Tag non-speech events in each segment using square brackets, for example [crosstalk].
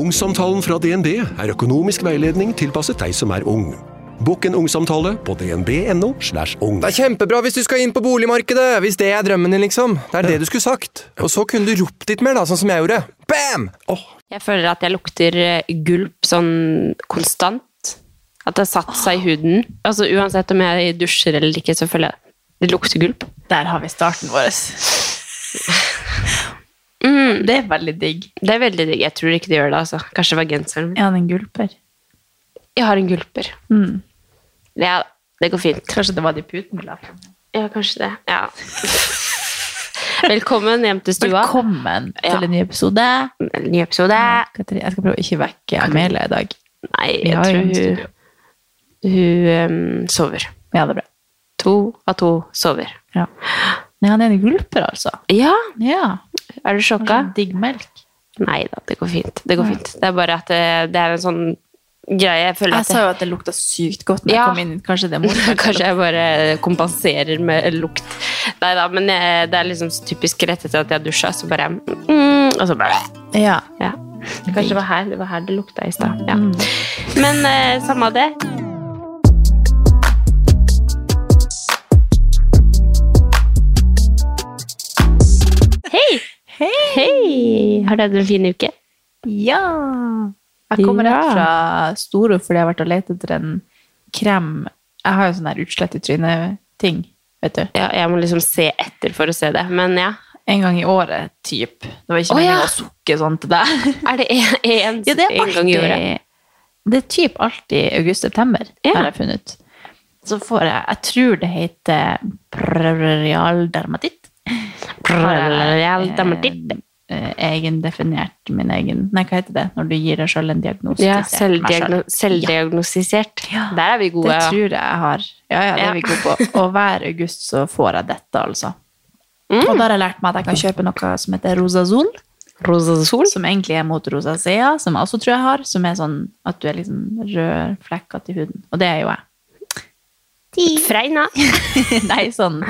Ungsamtalen fra DNB er økonomisk veiledning tilpasset deg som er ung. Bokk en ungsamtale på dnb.no. slash ung. Det er kjempebra hvis du skal inn på boligmarkedet, hvis det er drømmen din, liksom. Det er det du skulle sagt. Og så kunne du ropt litt mer, da, sånn som jeg gjorde. Bam! Åh, Jeg føler at jeg lukter eh, gulp sånn konstant. At det har satt seg i huden. Altså Uansett om jeg dusjer eller ikke, så føler jeg det lukter gulp. Der har vi starten vår. Mm, det er veldig digg. Det er veldig digg. Jeg tror ikke det gjør det, altså. Kanskje det var genseren min. Er han en gulper? Jeg har en gulper. Mm. Ja, det går fint. Kanskje det var de puten vi la på. Ja, kanskje det. Ja. Velkommen hjem til stua. Velkommen til Ja. en ny episode. Ny episode. Katrine, jeg skal prøve å ikke vekke Amelia i dag. Nei, Vi jeg har jo tror en hun, studio. hun ehm, sover. Ja, det er bra. To av to sover. Ja. Nei, han er en gulper, altså. Ja, Ja. er du Kanskje sjokka? en digg melk. Nei da, det går fint. Det går fint. Det er bare at det, det er en sånn greie jeg føler Jeg at jeg, sa jo at det lukta sykt godt når Ja. jeg kom inn. [laughs] Kanskje det er [laughs] motsatt. Kanskje jeg bare kompenserer med lukt. Nei da, men eh, det er liksom så typisk rett etter at jeg dusja, så bare mm, Og så bare Ja. Ja. Kanskje det var her det, var her det lukta i stad. Ja. Mm. Men eh, samme av det. Hei! Hei! Hei! Har du hatt en fin uke? Ja! Jeg kommer rett Ja. fra Storo fordi jeg har vært og lett etter en krem. Jeg har jo sånn her utslett i trynet-ting, vet du. Ja, jeg må liksom se etter for å se det. Men ja. En gang i året, typ. Det var ikke Å, meningen ja. å sukke sånn til deg. Er det én [laughs] Ja, det er gang i året? alltid Det er typ alltid august-september, Ja. har jeg funnet ut. Så får jeg Jeg tror det heter prerial dermatitt. Prerial dermatitt. Eh, eh, Egendefinert min egen Nei, hva heter det når du gir deg sjøl en diagnose? Ja, Meg selv. selvdiagno selvdiagnostisert. Ja. Der er vi gode. Det tror jeg jeg har. Ja, ja, det Ja. er vi gode på. Og hver august så får jeg dette, [laughs] altså. Og da har jeg lært meg at jeg kan kjøpe noe som heter Rosazol, Rosasol. som egentlig er mot rosacea, som jeg også tror jeg har, som er sånn at du er liksom rødflekkete i huden. Og det er jo jeg. [laughs] Freina. Nei, sånn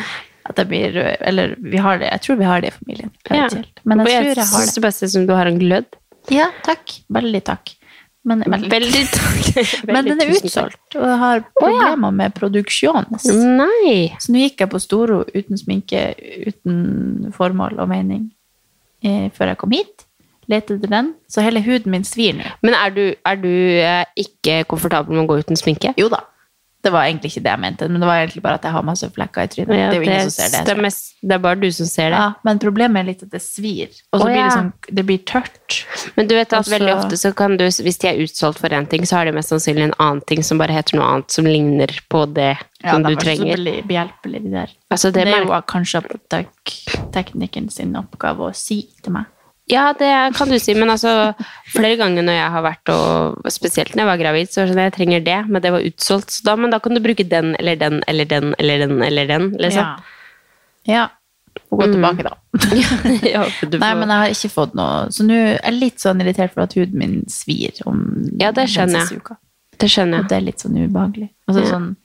at jeg blir rød. Eller vi har det. Jeg tror vi har det i familien. Jeg Ja. vet ikke helt. Men jeg tror jeg har synes det. det bare ser ut som du har en glødd. Ja, takk. Veldig takk. Men, veldig, Veldig [laughs] takk. men den er Veldig tusen takk. utsolgt, og jeg har problemer med produksjon. Mm. Nei. Så nå gikk jeg på Storo uten sminke, uten formål og mening, eh, før jeg kom hit. Lette etter den. Så hele huden min svir nå. Men er du, er du eh, ikke komfortabel med å gå uten sminke? Jo da. Det var egentlig ikke det jeg mente, men det var egentlig bare at jeg har masse flekker i trynet. det er jo ingen som ser det. Det er, mest, det er bare du som ser det. Ja, men problemet er litt at det svir, og så Å, blir det ja. sånn, det blir tørt. Men du vet at Altså- veldig ofte så kan du, hvis de er utsolgt for en ting, så har de mest sannsynlig en annen ting som bare heter noe annet som ligner på det som du trenger. behjelpelig, de der. Altså, det det er merker- jo kanskje tek- teknikken sin oppgave å si til meg. Ja, det kan du si, men altså flere ganger når jeg har vært og spesielt når jeg var gravid, så var det sånn jeg trenger det, men det var utsolgt, så da, men da kan du bruke den eller den eller den eller den eller den, [laughs] liksom. Ja. ja. Får gå tilbake, da. [laughs] Ja, for du Nei, Mm. får- men jeg har ikke fått noe. Så nå er jeg litt sånn irritert for at huden min svir om Ja, det den skjønner siste jeg. uka. det skjønner Og jeg. det er litt sånn ubehagelig. Og så Ja. sånn,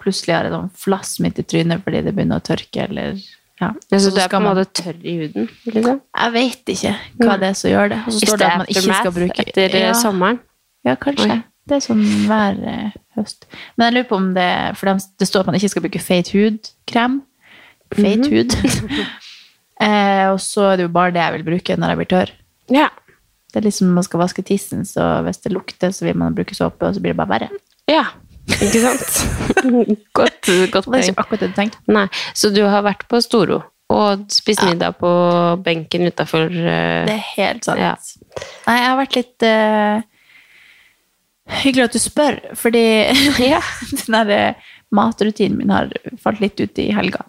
plutselig har jeg sånn flass midt i trynet fordi det begynner å tørke, eller ja. Ja, Så så du er skal på en man- måte tørr i huden, liksom? Jeg vet ikke hva det er som gjør det. Og så Is står det at man ikke skal aftermath bruke etter eh, ja, sommeren? ja, kanskje. Oi. Det er sånn hver eh, høst. Men jeg lurer på om det For dem- det står at man ikke skal bruke feit hudkrem. Feit Mhm. hud. [laughs] eh, og så er det jo bare det jeg vil bruke når jeg blir tørr. Ja. Det er liksom Man skal vaske tissen, så hvis det lukter, så vil man bruke såpe, og så blir det bare verre. Ja, ikke sant? godt, godt Og det er poeng. ikke akkurat det du tenkte. Nei, så du har vært på Storo og spist middag på benken utenfor... eh, Det er helt sant. Ja. Nei, jeg har vært litt eh, Hyggelig at du spør, fordi [laughs] den der eh, matrutinen min har falt litt ut i helga.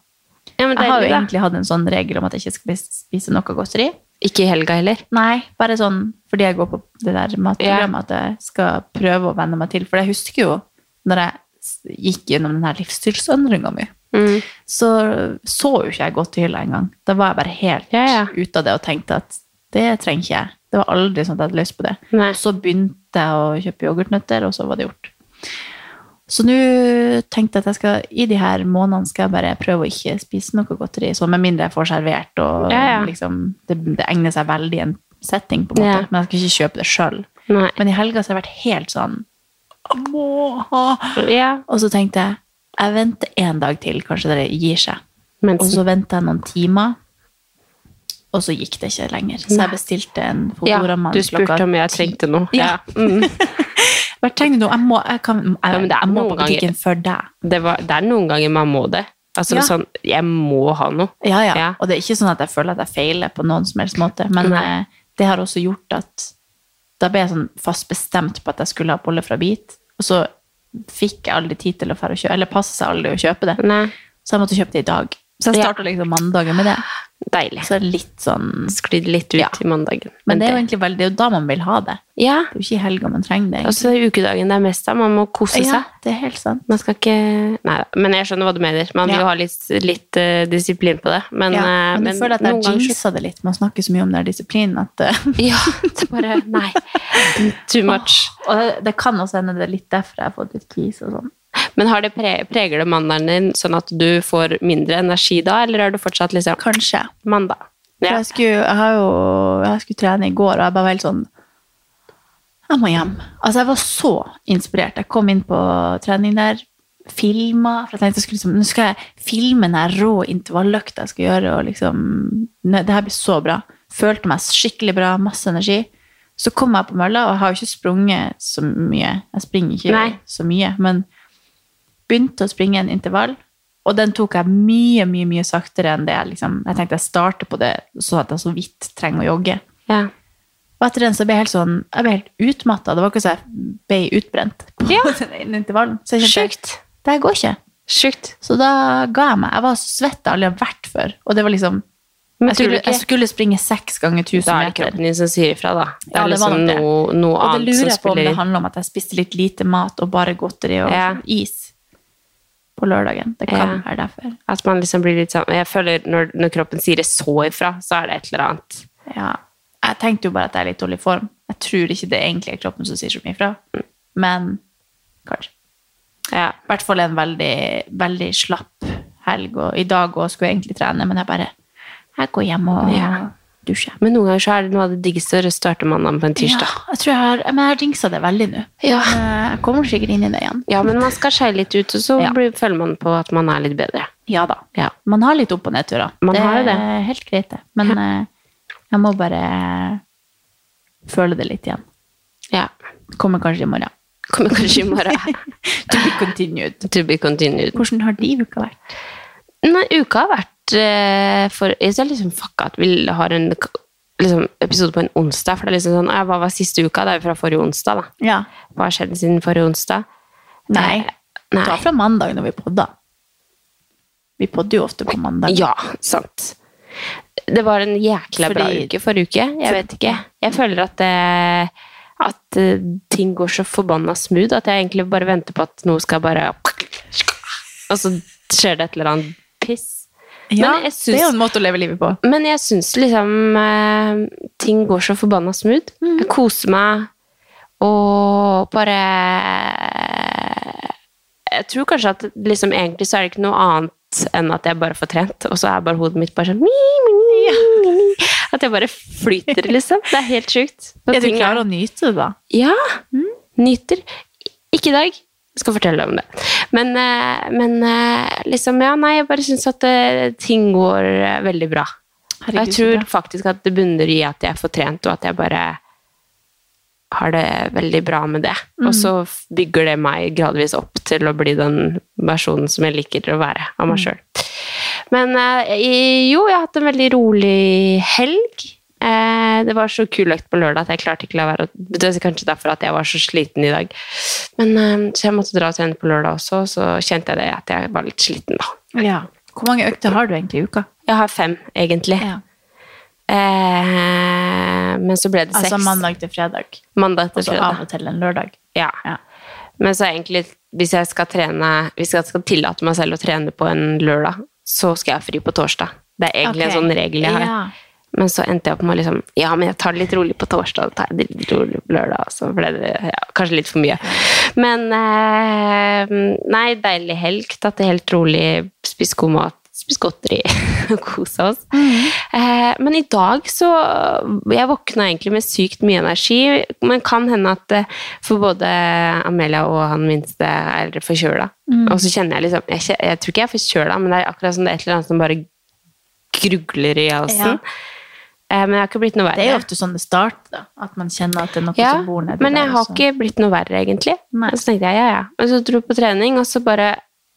Ja, men Jeg har jo deilig, da. egentlig hatt en sånn regel om at jeg ikke skal spise noe godteri. Ikke i helga heller. Nei, bare sånn fordi jeg går på det der matprogrammet at jeg skal prøve å venne meg til. For jeg husker jo når jeg s- gikk gjennom den her livsstilsendringa mi, så så jo ikke jeg godt i hylla engang. Da var jeg bare helt Ja, ja. ute av det og tenkte at det trenger ikke jeg. Det var aldri sånn at jeg hadde lyst på det. Nei. Så begynte jeg å kjøpe yoghurtnøtter, og så var det gjort. Så nå tenkte jeg at jeg skal, i de her månedene skal jeg bare prøve å ikke spise noe godteri, sånn med mindre jeg får servert, og Ja, ja. liksom, det, det egner seg veldig i en setting, på en måte. Ja. Men jeg skal ikke kjøpe det sjøl. Nei. Men i helga så har jeg vært helt sånn «Jeg må ha. Ja. Og så tenkte jeg jeg venter en dag til, kanskje det gir seg. Og Mensen. så venta jeg noen timer, og så gikk det ikke lenger. Så jeg bestilte en Ja, Foodora-mann du spurte om jeg trengte noe. Ja. Mm. Bare tenk nå, jeg må, jeg kan, jeg, Ja, men det er jeg må noen på butikken ganger- før deg. Det, var, det er noen ganger man må det. Altså Ja. sånn, jeg må ha noe. Ja, ja. Ja. Og det er ikke sånn at jeg føler at jeg feiler på noen som helst måte, men Nei. eh, det har også gjort at da ble jeg sånn fast bestemt på at jeg skulle ha bolle fra bit, og så fikk jeg aldri tid til å fære å kjøpe, eller passet seg aldri å kjøpe det. Nei. Så jeg måtte kjøpe det i dag. Så jeg Ja. startet liksom mandagen med det. Deilig. Så det er litt sånn... Sklidd litt ut Ja. i mandagen. Men det er jo egentlig veldig, det er jo da man vil ha det. Ja, Det er jo ikke i helga man trenger det. og så er ukedagen det er mest av. Man må kose egentlig. seg. Ja, det er helt sant. Man skal ikke Nei da, men jeg skjønner hva du mener. Man vil Ja. jo ha litt, litt eh, disiplin på det. Men, ja. eh, men du men føler at noen jeg ganger så- jinxet det litt med å snakke så mye om den disiplinen at... eh, [laughs] Ja, det er bare Nei. Too much. [laughs] Og det, det kan også hende det er litt derfor jeg har fått litt kis og sånn. Men har det pre preger det mandagen din sånn at du får mindre energi da, eller er du fortsatt liksom Kanskje. mandag? For Ja. jeg skulle, jeg, har jo, jeg skulle trene i går, og jeg bare var helt sånn Jeg må hjem. Altså, jeg var så inspirert. Jeg kom inn på trening der, filma. For jeg tenkte jeg skulle liksom, nå skal jeg filme den her rå intervalløkta jeg skal gjøre. og liksom, nei, Det her blir så bra. Følte meg skikkelig bra, masse energi. Så kom jeg på mølla, og jeg har jo ikke sprunget så mye. Jeg springer ikke Nei. så mye, men begynte å springe en intervall, og den tok jeg mye, mye, mye saktere enn det jeg liksom Jeg tenkte jeg starter på det sånn at jeg så vidt trenger å jogge. Ja. Og etter den så ble jeg helt sånn Jeg ble helt utmatta. Det var ikke så jeg ble utbrent på Ja. [laughs] den ene intervallen. Så jeg kjente Sjukt. Det her går ikke. Sjukt. Så da ga jeg meg. Jeg var så svett jeg aldri har vært før. Og det var liksom Men jeg tror du skulle, ikke- jeg skulle springe seks ganger 1000 Da er det meter. kroppen din som sier ifra, da. Det er Ja, det var liksom nok det. noe, noe Og det annet lurer som jeg på om spiller det handler om at jeg spiste litt lite mat og bare godteri og Ja. sånn is på lørdagen. Det kan Ja. være derfor. At man liksom blir litt sånn Jeg føler når, når kroppen sier det så ifra, så er det et eller annet. Ja. Jeg tenkte jo bare at jeg er litt dårlig i form. Jeg tror ikke det egentlig er kroppen som sier så mye fra. Men kanskje. Ja. I hvert fall en veldig, veldig slapp helg. Og i dag også skulle jeg egentlig trene, men jeg bare Jeg går hjem og Ja. dusjer. Men noen ganger så er det noe av det diggeste å starte mandagen på en tirsdag. Ja, jeg tror jeg har Men jeg har jinxa det veldig nå. Ja. Men eh, Jeg kommer sikkert inn i det igjen. Ja, men man skal skeie litt ut, og så Ja. blir, føler man på at man er litt bedre. Ja da. Ja. Man har litt opp- og nedturer. Man har jo det. er helt greit, det. Men eh, jeg må bare føle det litt igjen. Ja. Kommer kanskje i morgen. Kommer kanskje i morgen. [laughs] To be continued. to be continued. Hvordan har de uka vært? Nei, uka har vært eh, for Jeg ser liksom fucka at vi har en k- liksom, episode på en onsdag. For det er liksom sånn ja, Hva var siste uka? Det er jo fra forrige onsdag, da. Ja. Hva har skjedd siden forrige onsdag? Nei. Eh, Nei. Ta fra mandag når vi podda. Vi podder jo ofte på mandag. Ja, sant. Det var en jækla bra Fordi- uke forrige uke. Jeg vet ikke. Jeg føler at, eh, at eh, ting går så forbanna smooth at jeg egentlig bare venter på at noe skal bare Og så skjer det et eller annet piss. Ja, Det er Men jeg jo syns, en måte å leve livet på. men jeg syns liksom eh, ting går så forbanna smooth. Jeg koser meg og bare Jeg tror kanskje at liksom, egentlig så er det ikke noe annet enn at jeg bare får trent, og så er bare hodet mitt bare sånn mi, mi, mi, mi, mi. At jeg bare flyter, liksom. Det er helt sjukt. Er du klar å nyte det, da? Ja. Mm. Nyter. Ikke i dag. Jeg skal fortelle deg om det. Men, eh, men eh, liksom, ja, nei, jeg bare syns at eh, ting går eh, veldig bra. Og Herregud, jeg så tror bra. faktisk at det bunner i at jeg får trent, og at jeg bare har det veldig bra med det. Og Mm. så f- bygger det meg gradvis opp til å bli den versjonen som jeg liker å være av Mm. meg sjøl. Men eh, i- jo, jeg har hatt en veldig rolig helg. Eh, det var så kul økt på lørdag at jeg klarte ikke la være å Det er kanskje derfor at jeg var så sliten i dag. Men, eh, så jeg måtte dra og trene på lørdag også, og så kjente jeg det at jeg var litt sliten da. Hvor mange økter har du egentlig i uka? Jeg har fem, egentlig. Ja. Eh, Eh, men så ble det seks. Altså mandag Altså, til fredag. Mandag Og til så av fredag. og til en lørdag. Ja. Ja. Men så egentlig, hvis jeg skal trene Hvis jeg skal tillate meg selv å trene på en lørdag, så skal jeg ha fri på torsdag. Det er egentlig Ok. en sånn regel jeg har. Ja. Men så endte jeg opp med å liksom Ja, men jeg tar det litt rolig på torsdag, og tar det litt rolig på lørdag, og så ble det ja, kanskje litt for mye. Men eh, Nei, deilig helg. Tatt det helt rolig, spist god mat, spist godteri, [laughs] kosa oss. Eh, men i dag så Jeg våkna egentlig med sykt mye energi, men kan hende at eh, for både Amelia og han minste er forkjøla. Og så kjenner jeg liksom jeg, kje- jeg tror ikke jeg er forkjøla, men det er akkurat som det er et eller annet som bare grugler i halsen. Eh, Men jeg har ikke blitt noe verre. Det er jo ofte sånn det starter, da. At man kjenner at det er noe ja, som bor nedi men jeg der, har og så- ikke blitt noe verre, egentlig. Nei. Og så tenkte jeg, ja, ja. Og så dro jeg på trening, og så bare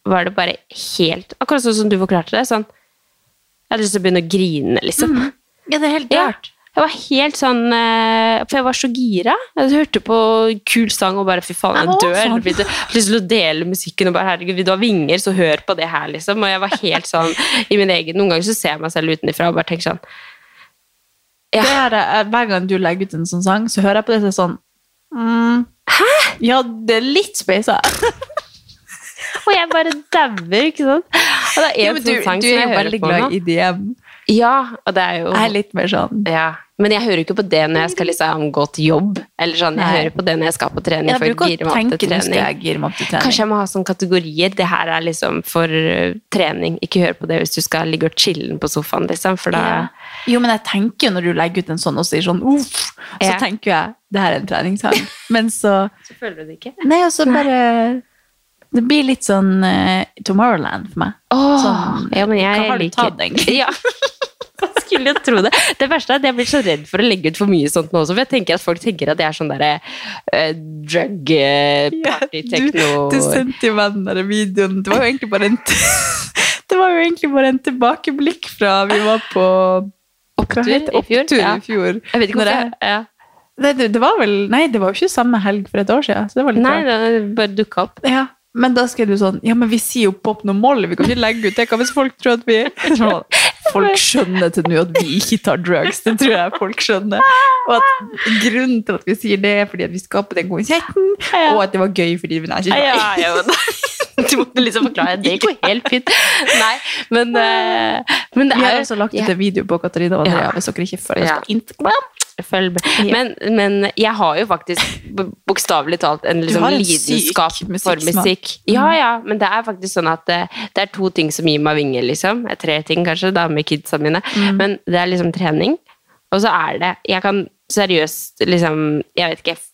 var det bare helt Akkurat sånn som du forklarte det. sånn, Jeg hadde lyst til å begynne å grine, liksom. Mm, Ja, det er helt Ja. rart. Jeg var helt sånn eh, For jeg var så gira. Jeg hørte på kul sang og bare fy faen, Jeg jeg var dør. Jeg sånn. fikk lyst til å dele musikken og bare herregud, vil du ha vinger, så hør på det her, liksom. Og jeg var helt sånn i min egen Noen ganger så ser jeg meg selv utenfra og bare tenker sånn Ja. Det er, eh, hver gang du legger ut en sånn sang, så hører jeg på det så er det sånn mm, Hæ? Ja, det er litt speisa. Og jeg bare dauer, ikke sant? Og det er en Ja, men sånn sang som jeg hører på nå. i DM. Ja, og det er jo Jeg er litt mer sånn ja. Men jeg hører jo ikke på det når jeg skal liksom gå til jobb. Eller sånn, Jeg Nei. hører på det når jeg skal på trening. Jeg for å bruker gire å meg opp tenke til nå skal trening. jeg gire meg opp til trening. Kanskje jeg må ha sånne kategorier. Det her er liksom for eh, trening. Ikke hør på det hvis du skal ligge og chille på sofaen, liksom. For da Ja. Jo, men jeg tenker jo når du legger ut en sånn og sier sånn uff, så Ja. tenker jeg det her er en treningssang. [laughs] Men så Så føler du det ikke. Nei, og så bare Det blir litt sånn eh, Tomorrowland for meg. Åh, Sånn, ja, men jeg hva har du liker- tatt, egentlig? [laughs] Ja. Man skulle jo tro det. Det verste er at jeg blir så redd for å legge ut for mye sånt nå også, for jeg tenker at folk tenker at jeg er sånn derre eh, drug eh, party Du, du techno sendte jo meg den der videoen. Det var jo egentlig bare en, [laughs] det var jo egentlig bare en tilbakeblikk fra vi var på hva Opptur heter det? i fjor, Opptur ja. i fjor. Jeg vet ikke Når hvorfor. jeg- jeg- Ja. Nei, det, det var vel Nei, det var jo ikke samme helg for et år siden. Så det var litt Nei, rart. det bare dukka opp. Ja, men da skrev du sånn Ja, men vi sier jo pop noe moll. Vi kan ikke legge ut det. Hva hvis folk tror [laughs] at vi Sånn, Folk skjønner til nå at vi ikke tar drugs. Det tror jeg folk skjønner. Og at grunnen til at vi sier det, er fordi at vi skal på den konserten, og at det var gøy fordi vi er ikke [laughs] Ja, ja, men- Du måtte liksom forklare. Det går helt [laughs] fint. Nei, men, eh, men det Vi er har jo- også lagt ut jeg- en video på Katarina og Andrea Ja. hvis dere ikke følger oss Ja. på Instagram. Følg med. Men, men jeg har jo faktisk b- bokstavelig talt en, Mm. liksom, har en lidenskap syk for musikksmak. musikk. Ja, ja, men det er faktisk sånn at eh, det er to ting som gir meg vinger, liksom. Eh, Tre ting, kanskje, da med kidsa mine. Men det er liksom trening, og så er det Jeg kan seriøst, liksom Jeg vet ikke f-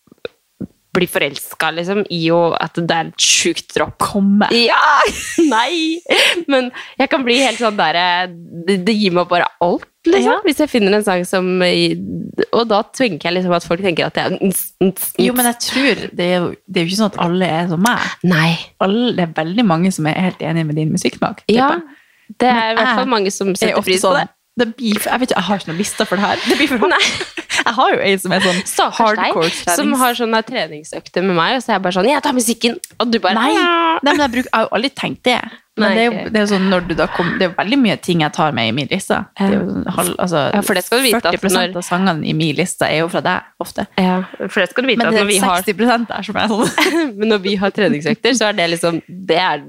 bli forelska, liksom, i jo at det er et sjukt dropp. Komme. Ja! [laughs] Nei! Men jeg kan bli helt sånn der eh, Det, det gir meg bare alt, liksom. Ja. Hvis jeg finner en sang som eh, Og da tenker jeg liksom at folk tenker at det er ns, ns, ns. Jo, men jeg tror det er jo, det er jo ikke sånn at alle er som meg. Nei. Alle, det er veldig mange som er helt enige med din musikksmak. Ja. tipper jeg. Det er i hvert jeg fall mange som Jeg er setter ofte pris på det. [laughs] sånn, det blir, for- jeg, vet, ikke, jeg har ikke noen lista for det her. Det blir for hardt. Jeg har jo en som er sånn Stakkars hardcore deg, trenings. som har sånn sånne treningsøkter med meg, og så er jeg bare sånn Jeg tar musikken! Og du bare Nei, «Ja». nei men jeg, bruk, jeg har jo aldri tenkt det. Men Nei, det er, ikke. jo, det, er jo sånn, når du da kom, det er jo veldig mye ting jeg tar med i min liste. Det er jo sånn halv, altså, Ja, for det skal du vite at 40 når- av sangene i min liste er jo fra deg, ofte. Ja, for det skal du vite Men at det når er vi har 60 der som er sånn. [laughs] Men når vi har treningsøkter, så er det liksom Det er,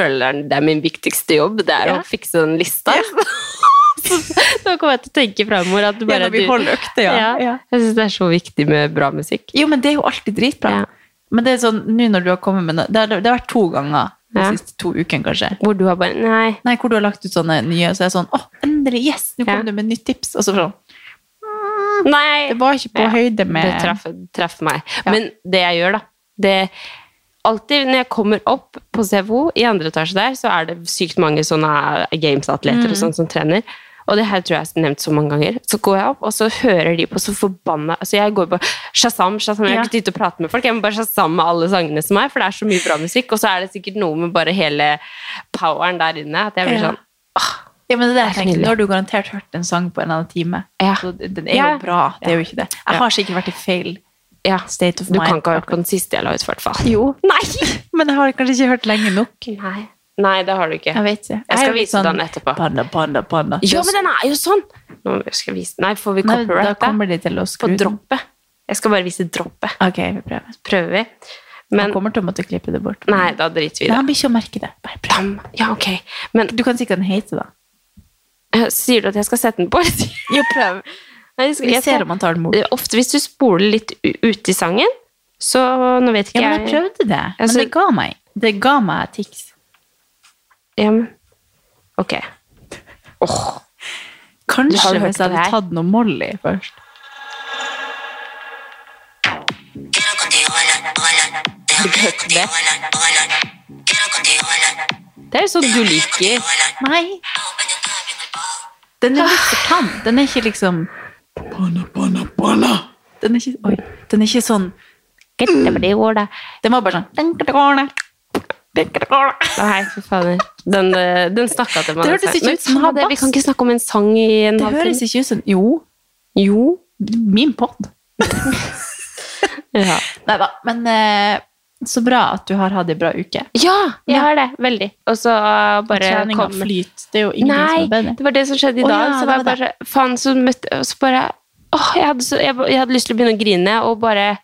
føler jeg, det er min viktigste jobb. Det er Ja. å fikse den lista. [laughs] Nå kommer jeg til å tenke framover at [laughs] du Ja, bare når vi du- holder økter, ja. Ja. Jeg syns det er så viktig med bra musikk. Jo, men det er jo alltid dritbra. Ja. Men det er sånn, nå når du har kommet med noe, det har, det har vært to ganger de Ja. siste to ukene, kanskje. Hvor du har bare Nei. Nei, hvor du har lagt ut sånne nye, så er jeg sånn, åh, endelig, yes, nå kom Ja. du med nytt tips. Og så sånn, nei. det var ikke på Ja, høyde med... Det traff, traff meg. Ja. Men det jeg gjør, da det Alltid når jeg kommer opp på CFO, i andre etasje der, så er det sykt mange sånne gamesatleter Mm. og sånn som trener. Og det her tror jeg jeg har nevnt så mange ganger. Så går jeg opp, og så hører de på så forbanna Altså, jeg går på Shazam, Shazam. Jeg har Ja. ikke tid til å prate med folk. Jeg må bare Shazam med alle sangene som er, for det er så mye bra musikk. Og så er det sikkert noe med bare hele poweren der inne at jeg blir Ja. sånn Ja, men det er det jeg tenker. nydelig. Nå har du garantert hørt en sang på en annen time. Ja. Så den er Ja. jo bra, det er jo ikke det. Jeg har sikkert vært i feil Ja, state of du mind. kan ikke ha hørt på den siste jeg la ut, i hvert fall. Jo, Nei! men jeg har kanskje ikke hørt lenge nok. Nei. Nei, det har du ikke. Jeg vet ikke. Jeg er skal litt sånn vise den etterpå. Panda, panda, panda. Ja, men den er jo sånn! Nå skal jeg vise Nei, får vi Nei, da copyright kommer de til å På skru den. droppet. Jeg skal bare vise droppet. Ok, vi prøver. Prøver vi. Han Men kommer til å måtte klippe det bort. Nei, da driter vi i Nei, det. han blir ikke å merke det. Bare prøv. Bam. Ja, ok. Men Du kan si hva den heter, da. øh, sier du at jeg skal sette den på? [laughs] Jo, prøv. Nei, jeg skal, Vi jeg ser ser om han tar den bort. Det er Ofte hvis du spoler litt u- ut i sangen, så nå vet Ja, ikke men jeg jeg prøvde det. Men Altså- det ga meg Det ga meg tics. Ja, men- Ok. Kanskje hørt hvis jeg på det hadde her? tatt noe Molly først. Det er jo sånn du liker. Nei. Den er litt for tam. Den er ikke liksom Panna, panna, panna. Den er ikke, oi, den er ikke sånn Den var bare sånn Nei, fy fader. Den, eh, den snakka til meg. Det hørtes altså. ikke Men ut som den fader, har Vi bass. kan ikke snakke om en sang i en Det høres halvtime. ikke ut som Jo, Jo. min pod. Ja. Nei da. Men eh, så bra at du har hatt ei bra uke. ja, jeg Ja. har det. Veldig. Og så eh, bare Trening og kom flyt. Det er jo ingenting som Nei, er bedre. det var det som skjedde i Å, dag. ja, så det var var jeg bare, faen, så møtte og så bare, åh, jeg, hadde så, jeg, jeg hadde lyst til å begynne å grine, og bare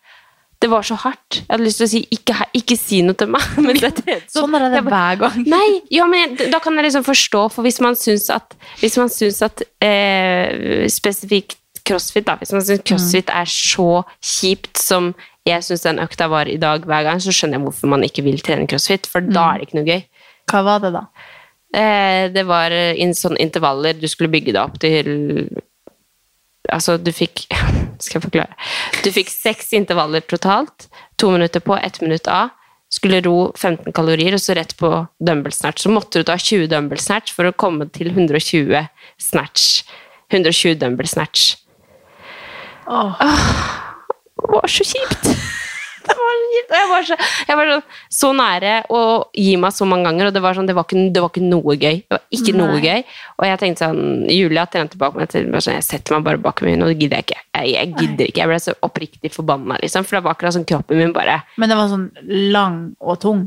Det var så hardt. Jeg hadde lyst til å si 'ikke, he- ikke si noe til meg'. [laughs] Men det, Sånn er det jeg bare- hver gang. Nei, ja, men jeg, da kan jeg liksom forstå, for hvis man syns at, hvis man syns at eh, spesifikt crossfit, da, hvis man syns crossfit er så kjipt som jeg syns den økta var i dag hver gang, så skjønner jeg hvorfor man ikke vil trene crossfit, for da er det ikke noe gøy. Hva var det, da? Eh, Det var eh, in sånne intervaller du skulle bygge deg opp til Altså, du fikk [laughs] Skal jeg forklare? Du fikk seks intervaller totalt. To minutter på, ett minutt av. Skulle ro 15 kalorier, og så rett på dumbbell snatch. Så måtte du ta 20 dumbbell snatch for å komme til 120 snatch. 120 dumbbell snatch. Åh. Det var så kjipt! [laughs] Det var så kjipt. Og Jeg var, så, jeg var sånn, så nære å gi meg så mange ganger, og det var, sånn, det var, ikke, det var ikke noe gøy. Det var ikke noe Nei. gøy. Og jeg tenkte sånn Julia trente bak meg, til, bare sånn, jeg setter meg bare bak min, og det gidder jeg ikke. Jeg, jeg gidder ikke. Jeg ble så oppriktig forbanna, liksom, for det var akkurat sånn kroppen min bare Men den var sånn lang og tung.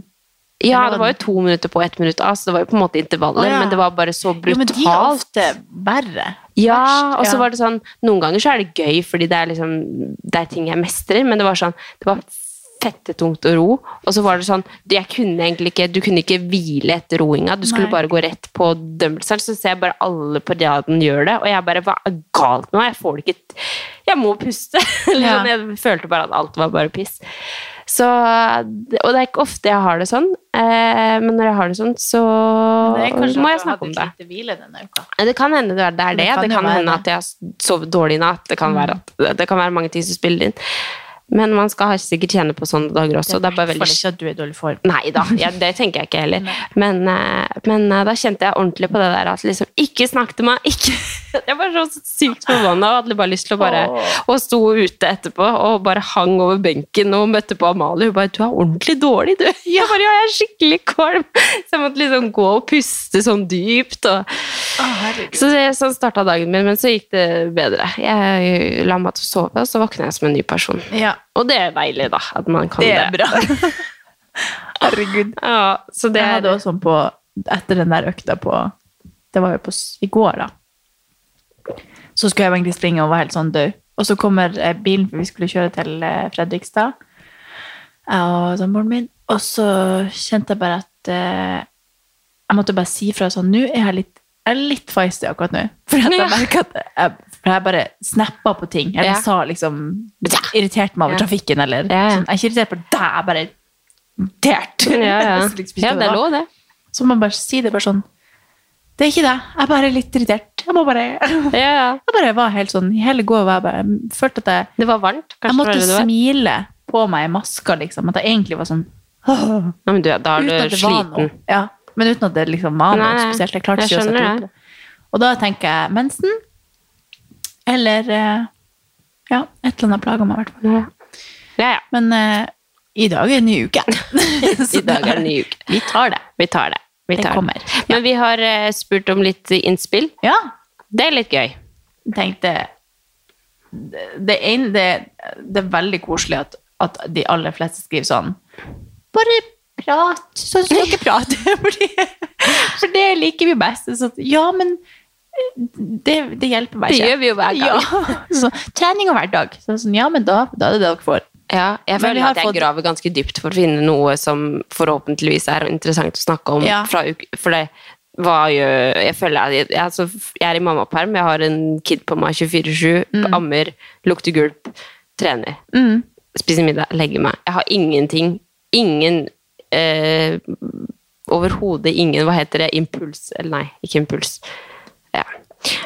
Ja, Eller det var var jo to minutter på ett minutt av, så det var jo på en måte intervaller, Å, ja. men det var bare så Jo, men de er brutalt. ofte verre. Ja, og Verst, så ja. var det sånn Noen ganger så er det gøy, fordi det er liksom Det er ting jeg mestrer, men det var sånn Det var fettetungt å ro. Og så var det sånn Jeg kunne egentlig ikke Du kunne ikke hvile etter roinga. Du skulle Nei. bare gå rett på dømmelser. Så ser jeg bare alle på raden gjør det, og jeg bare Hva er galt med meg? Jeg får det ikke t- Jeg må puste! [laughs] Eller Ja. sånn, jeg følte bare at alt var bare piss. Så det- Og det er ikke ofte jeg har det sånn, eh, men når jeg har det sånn, så må jeg snakke om det. Ja, Det kan hende det er det. Er det. Det kan Det kan, Mm. jo være hende det. at jeg har sovet dårlig i natt. Det kan, være at, det kan være mange ting som spiller inn. Men man skal ha- sikkert kjenne på sånne dager også. Det er bare veldig ikke at du er i dårlig form. Nei da, ja, det tenker jeg ikke heller. Men, eh, men eh, da kjente jeg ordentlig på det der at liksom Ikke snakk til meg! Ikke [laughs] Jeg var så sykt forbanna og hadde bare lyst til å bare Og sto ute etterpå og bare hang over benken og møtte på Amalie. Hun bare 'Du er ordentlig dårlig, du'. Jeg bare 'Ja, jeg er skikkelig kvalm'. Så jeg måtte liksom gå og puste sånn dypt og så det- sånn starta dagen min, men så gikk det bedre. Jeg la meg til å sove, og så våkna jeg som en ny person. Ja, Og det er deilig, da. At man kan det det. er bra. [laughs] Herregud. Ja, så det Jeg hadde også sånn på Etter den der økta på Det var jo på, s- i går, da. Så skulle jeg jo egentlig springe og var helt sånn død. Og så kommer eh, bilen, for vi skulle kjøre til eh, Fredrikstad. Jeg og samboeren min. Og så kjente jeg bare at eh, Jeg måtte bare si fra sånn Nå er jeg litt jeg er litt feisty akkurat nå. [laughs] For at jeg merker at jeg, for jeg bare snappa på ting. Jeg Ja. sa liksom Irriterte meg over Ja. trafikken, eller Ja, ja. sånn. Jeg er ikke irritert på deg, jeg er bare irritert. ja, ja. [laughs] Jeg visste liksom ikke ja, hva det er var. lov, det. Så må man bare si det bare sånn Det er ikke det. Jeg er bare litt irritert. Jeg må bare [laughs] Jeg Ja, ja. bare var helt sånn i hele går var jeg bare jeg følte at jeg Det var varmt. Kanskje Jeg måtte det var det det var. smile på meg i maska, liksom. At jeg egentlig var sånn Ja, men du, da Uten at det var noe. er du sliten. Ja, men uten at det liksom var noe Nei, nei. spesielt. Jeg klarte Jeg ikke å sette skjønner ord på det. Og da tenker jeg mensen eller eh, Ja, et eller annet plager meg i hvert fall. Ja, ja. ja. Men eh, i dag er en ny uke. [laughs] I dag er det ny uke. Vi tar det. Vi tar det. Vi Det tar kommer. Men vi har eh, spurt om litt innspill. Ja, Det er litt gøy. tenkte det, det, ene, det, det er veldig koselig at, at de aller fleste skriver sånn Bare Prat. Sånn skal dere prate. [laughs] Fordi, for det liker vi best. Så, ja, men det, det hjelper meg Det ikke. gjør vi jo hver gang. Ja. [laughs] Så, trening og hverdag. Så, sånn, ja, men da, da er det det dere får. Ja, jeg Men vi føler har at jeg fått- graver ganske dypt for å finne noe som forhåpentligvis er interessant å snakke om. Ja. Fra uke, for det hva gjør Jeg føler at jeg, jeg- altså, jeg er i mammaperm, jeg har en kid på meg 24-7, Mm. ammer, lukter gulp, trener, spiser middag, legger meg. Jeg har ingenting. Ingen eh, Overhodet ingen Hva heter det? Impuls? Eller nei, ikke impuls. Ja.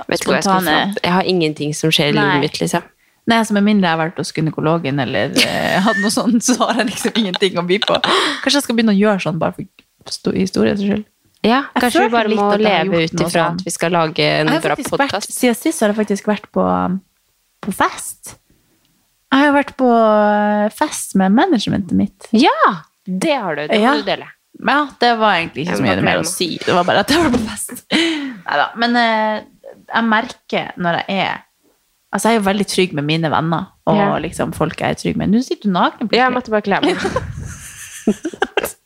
Vet ikke hva jeg, skal Spontane. få- jeg har ingenting som skjer i Nei. livet mitt, liksom. Nei, altså Med mindre jeg har vært hos gynekologen eller eh, hatt noe sånt, så har jeg liksom ingenting å by på. Kanskje jeg skal begynne å gjøre sånn bare for sto- historiens skyld. Ja, Jeg kanskje vi følte bare litt må at jeg har leve gjort ut noe ifra sånn. at vi skal lage en Jeg har bra faktisk vært, podkast. Siden sist har jeg faktisk vært på, um, på fest. Jeg har vært på uh, fest med managementet mitt. Ja! Det har du. Det må Ja. du dele. Men Ja, det var egentlig ikke Jeg så må mye mer å glemme. si. Det var bare at jeg var på fest. Neida. Men eh, jeg merker når jeg er Altså, jeg er jo veldig trygg med mine venner og Ja. liksom folk jeg er trygg med. Nå sitter du naken. plutselig. Jeg måtte bare [laughs] kle meg.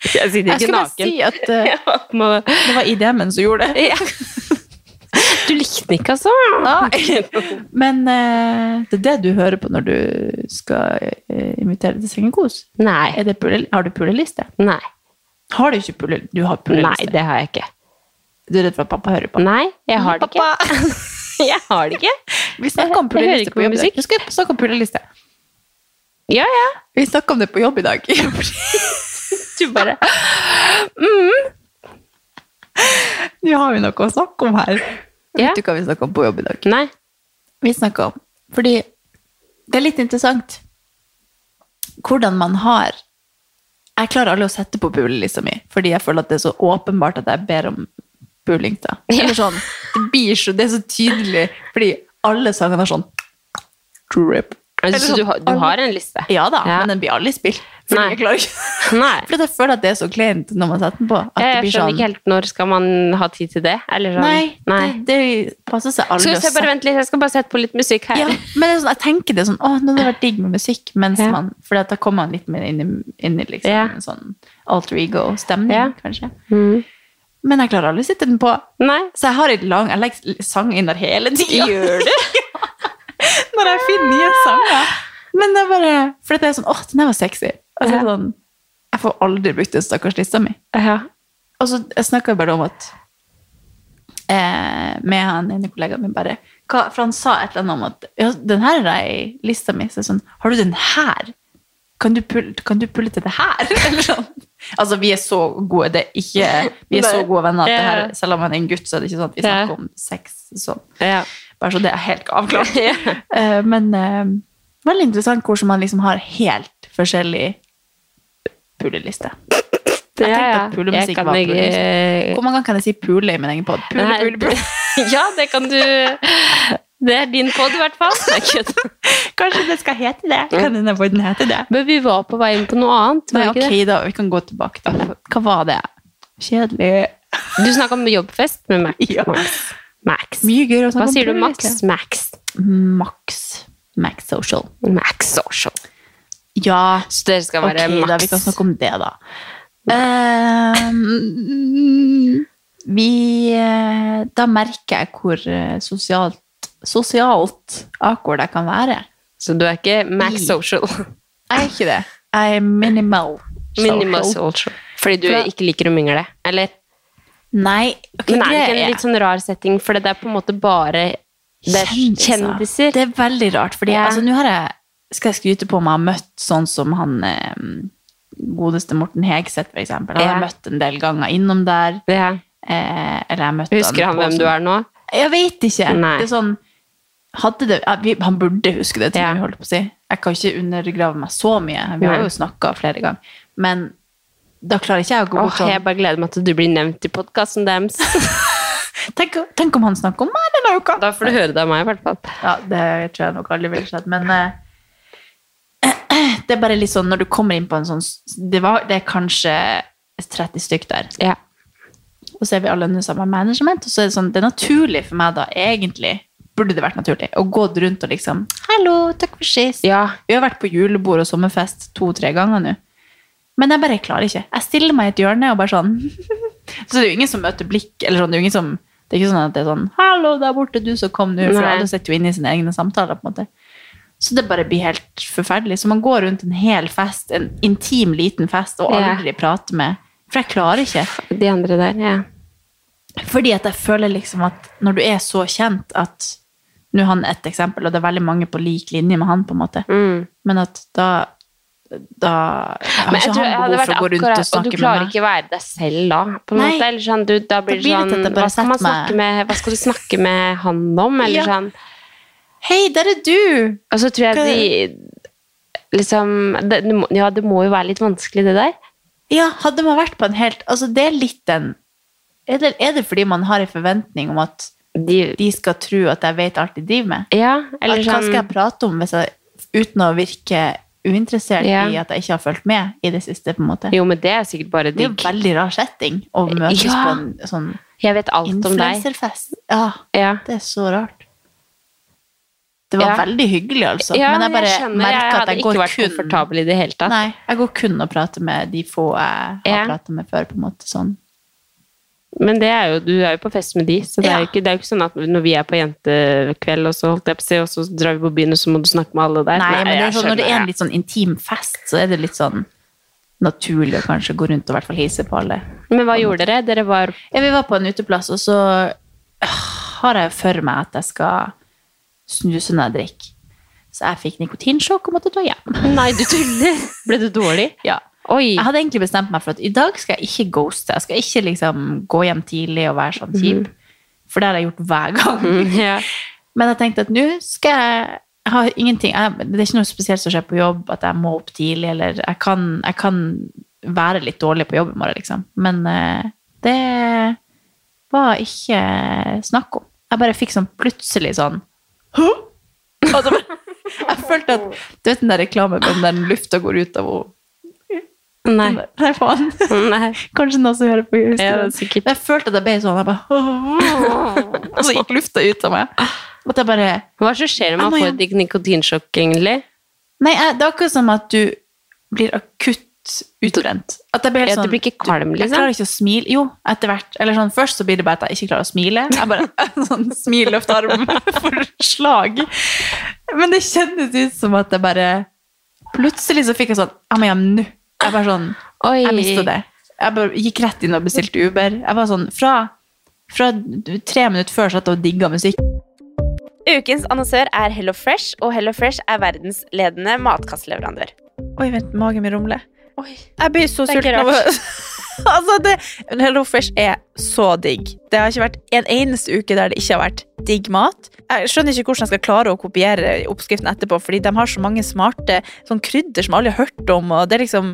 jeg Jeg sitter ikke skulle bare naken. si [laughs] at [laughs] eh, Jeg må... det var IDM-en som gjorde det. ja. Du likte den ikke, altså? [laughs] Men eh, det er det du hører på når du skal eh, invitere til sengekos. [laughs] Nei. Er det pule, har du puleliste? Nei. Har du ikke pule, du har Nei, puleliste? det har jeg ikke. Du er redd for at pappa hører på? Nei, jeg har det ikke. [laughs] Jeg har det ikke. [laughs] Vi snakker om Jeg- jeg hører puleliste ikke på på jobb. i dag. musikk. Nå skal jeg snakke om puleliste. Ja, ja. Vi snakker om det på jobb i dag. [laughs] du bare mm. Nå har vi noe å snakke om her. Ja. Vet du hva vi snakker om på jobb i dag? Nei. vi snakker om. Fordi det er litt interessant hvordan man har Jeg klarer aldri å sette på pulelista mi, fordi jeg føler at det er så åpenbart at jeg ber om puling. da. Eller sånn, det, blir så, det er så tydelig, fordi alle sangene har sånn drip. Eller Så Altså, du, sånn, har- du har en liste? Ja da, Ja. men den blir aldri spilt. Fordi Nei. jeg klarer ikke. Nei. Fordi jeg føler at det er så kleint når man setter den på. At det Jeg blir skjønner sånn, ikke helt når skal man ha tid til det. Eller sånn. Nei, Det, det passer seg aldri Skal vi se, bare vent litt, jeg skal bare sette på litt musikk her. Ja, men det er sånn, jeg tenker det er sånn, åh, nå hadde det vært digg med musikk, mens Ja. man, for da kommer man litt mer inn i, inn i liksom, Ja. en sånn alter ego-stemning, Ja. kanskje. Mm. Men jeg klarer aldri å sitte den på. Nei. Så jeg har et lang, jeg legger sang inn der hele tiden. Gjør du? [laughs] Når jeg finner nye sanger. Men det er bare, for det er sånn, åh, den her var sexy. Og så er det sånn, jeg får aldri brukt den stakkars lista mi. [laughs] Ja. Og så jeg snakket jeg bare om at eh, med han ene kollegaen min bare hva, For han sa et eller annet om at ja, den her er i lista mi. Så jeg sånn, har du den her? Kan du pulle, kan du pulle til det her? [laughs] Eller sånn. Altså, vi er så gode det er ikke, vi er så Nei. gode venner at det her, Ja. selv om han er en gutt, så er det ikke sånn at vi Ja. snakker om sex sånn. Ja. Bare så det er helt [laughs] avklart. Eh, Men eh, veldig interessant hvordan man liksom har helt forskjellig puleliste. Jeg tenkte at pulemusikk var puleliste. puleliste. Hvor mange ganger kan jeg si pule i min egen pod? Pule, pule, pule. Ja, det [laughs] kan du Det er din pod, i hvert fall. Nei, kødd. Kanskje det skal hete det? Kan denne podden hete det? Men vi var på vei inn på noe annet. Nei, Var ok ikke det? da, vi kan gå tilbake da. Hva var det? Kjedelig. Du snakka om jobbfest med Max. Ja. Max. Max. Mye gøyere å snakke Hva om sier du, Max? puleliste. Max. Max. Max Social. Max Social. Ja, Så dere skal være Ok, da, vi kan Max. snakke om det, da. Ehm, vi eh, Da merker jeg hvor eh, sosialt, sosialt awkward jeg kan være. Så du er ikke I. Max Social. Jeg er ikke det. Jeg er minimal. social. [laughs] Minimal Social. Fordi du For- ikke liker å mingle, eller? Nei, ok, Men er det ikke det en litt sånn rar setting, for det er på en måte bare det er kjendiser? Det er veldig rart, fordi Ja. altså, nå har jeg, skal jeg skryte på om jeg har møtt sånn som han eh, godeste Morten Hegseth, for eksempel. Han har Ja. jeg møtt en del ganger innom der. Ja. Eh, eller jeg møtte Husker han på hvem sånn- du er nå? Jeg vet ikke. Nei. Det er sånn, hadde det, ja, vi, han burde huske det, til Ja. vi holdt på å si. Jeg kan ikke undergrave meg så mye. Vi har Nei. jo snakka flere ganger. Men da klarer ikke jeg å gå Åh, bort sånn. jeg bare gleder meg til du blir nevnt i podkasten [laughs] deres. sånn, Tenk, tenk om han snakker om meg denne uka! Da får du høre det av meg, i hvert fall. Ja, det tror jeg nok aldri ville skjedd. Men eh, [clears throat] det er bare litt sånn når du kommer inn på en sånn Det, var, det er kanskje 30 stykk der. Ja. Og så er vi alle under samme management. Og så er det sånn, det er naturlig for meg da, egentlig, burde det vært naturlig, å gå rundt og liksom Hallo, takk for sist. ja. Vi har vært på julebord og sommerfest to-tre ganger nå. Men jeg bare klarer ikke. Jeg stiller meg i et hjørne og bare sånn [laughs] Så det er jo ingen som møter blikk, eller sånn. Det er jo ingen som det er ikke sånn at det er sånn 'Hallo, der borte, du som kom nå.' For Nei. alle sitter jo inne i sine egne samtaler. på en måte. Så det bare blir helt forferdelig. Så man går rundt en hel fest, en intim liten fest, og Ja. aldri prater med For jeg klarer ikke. De andre der, ja. Fordi at jeg føler liksom at når du er så kjent at Nå er han et eksempel, og det er veldig mange på lik linje med han, på en måte. Men at da da har Mm. Men ikke jeg tror jeg han hadde behov for vært å gå rundt og akkurat Og snakke du med klarer meg. ikke være deg selv da, på en Nei. måte. Eller sånn, du, da blir blir det det sånn at jeg bare hva skal, man setter meg- snakke med, hva skal du snakke med han om? Eller Ja. sånn Hei, der er du! Og så tror jeg Hva- de liksom det, det må- Ja, det må jo være litt vanskelig, det der. Ja, hadde man vært på en helt Altså, det er litt den er det, er det fordi man har en forventning om at De, de skal tro at jeg vet alt de driver med? ja, eller At, hva sånn skal jeg prate om hvis jeg, uten å virke uinteressert Ja. i at jeg ikke har fulgt med i det siste? på en måte? Jo, men det er sikkert bare Det er jo digg. veldig rar setting å møtes Ja. på en sånn Jeg vet alt om deg. influenserfest. Ja, Ja. det er så rart. Det var Ja. veldig hyggelig, altså. Ja, men jeg bare skjønner. Jeg merker at hadde jeg ikke går vært kun komfortabel i det hele tatt. Nei, jeg går kun og prater med de få jeg har Ja. pratet med før, på en måte. sånn. Men det er jo, du er jo på fest med de, så det er jo Ja. ikke, det er jo ikke sånn at når vi er på jentekveld, og så holdt jeg på å si, og så drar vi på byen, og så må du snakke med alle der. Nei, men det er jeg sånn, når det er skjønner, en litt sånn intim fest, så er det litt sånn naturlig å kanskje gå rundt og i hvert fall hilse på alle. ja. Men hva gjorde dere? Dere var Ja, vi var på en uteplass, og så øh, har jeg for meg at jeg skal snuse når jeg drikker. Så jeg fikk nikotinsjokk og måtte dra hjem. Nei, du tuller! [laughs] Ble du dårlig? Ja. Oi! Jeg hadde egentlig bestemt meg for at i dag skal jeg ikke ghoste. Jeg skal ikke liksom gå hjem tidlig og være sånn kjip. For det har jeg gjort hver gang. Mm, Ja. Men jeg tenkte at nå skal jeg jeg har ingenting, jeg, Det er ikke noe spesielt som skjer på jobb, at jeg må opp tidlig, eller jeg kan, jeg kan være litt dårlig på jobb i morgen, liksom. Men eh, det var ikke snakk om. Jeg bare fikk sånn plutselig sånn Hå? Og så bare, [laughs] jeg følte at Du vet den der reklamen med den der lufta går ut av henne? Nei. Den der- Nei, faen. Nei. Kanskje noen som hører på husker Ja, den. sikkert. Men Jeg følte at jeg ble sånn. Jeg bare, og så gikk lufta ut av meg. At jeg bare Hva er det som skjer Jeg når må man får hjem. et nikotinsjokk, egentlig? Nei, jeg, det er akkurat som at du blir akutt utbrent. At jeg blir helt Ja, du sånn, blir ikke kalm, Jeg liksom? klarer ikke å smile. Jo, etter hvert. Eller sånn, først så blir det bare at jeg ikke klarer å smile. Jeg bare [laughs] sånn, smil, løft arm [laughs] for slag. Men det kjennes ut som at jeg bare Plutselig så fikk jeg sånn Ja, men ja, nå. Jeg bare sånn Oi. Jeg mista det. Jeg bare gikk rett inn og bestilte Uber. Jeg var sånn Fra, fra tre minutter før satt jeg og digga musikk. Ukens annonsør er Hello Fresh, og Hello Fresh er verdensledende matkastleverandør. Oi, vent, magen min rumler. Oi. Jeg blir så Det er ikke sulten av å [laughs] Altså, det men Hello Fresh er så digg. Det har ikke vært en eneste uke der det ikke har vært digg mat. Jeg skjønner ikke hvordan jeg skal klare å kopiere oppskriften etterpå, fordi de har så mange smarte sånn krydder som alle har hørt om, og det er liksom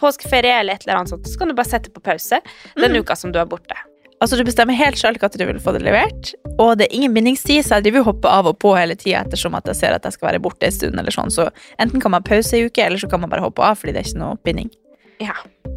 påskeferie eller et eller annet sånt, så kan du bare sette på pause den uka som du er borte. Altså, du bestemmer helt sjøl hva du vil få det levert, og det er ingen bindingstid, så jeg driver og hopper av og på hele tida ettersom at jeg ser at jeg skal være borte en stund, eller sånn, så enten kan man pause ei uke, eller så kan man bare hoppe av fordi det er ikke noe binding. Ja,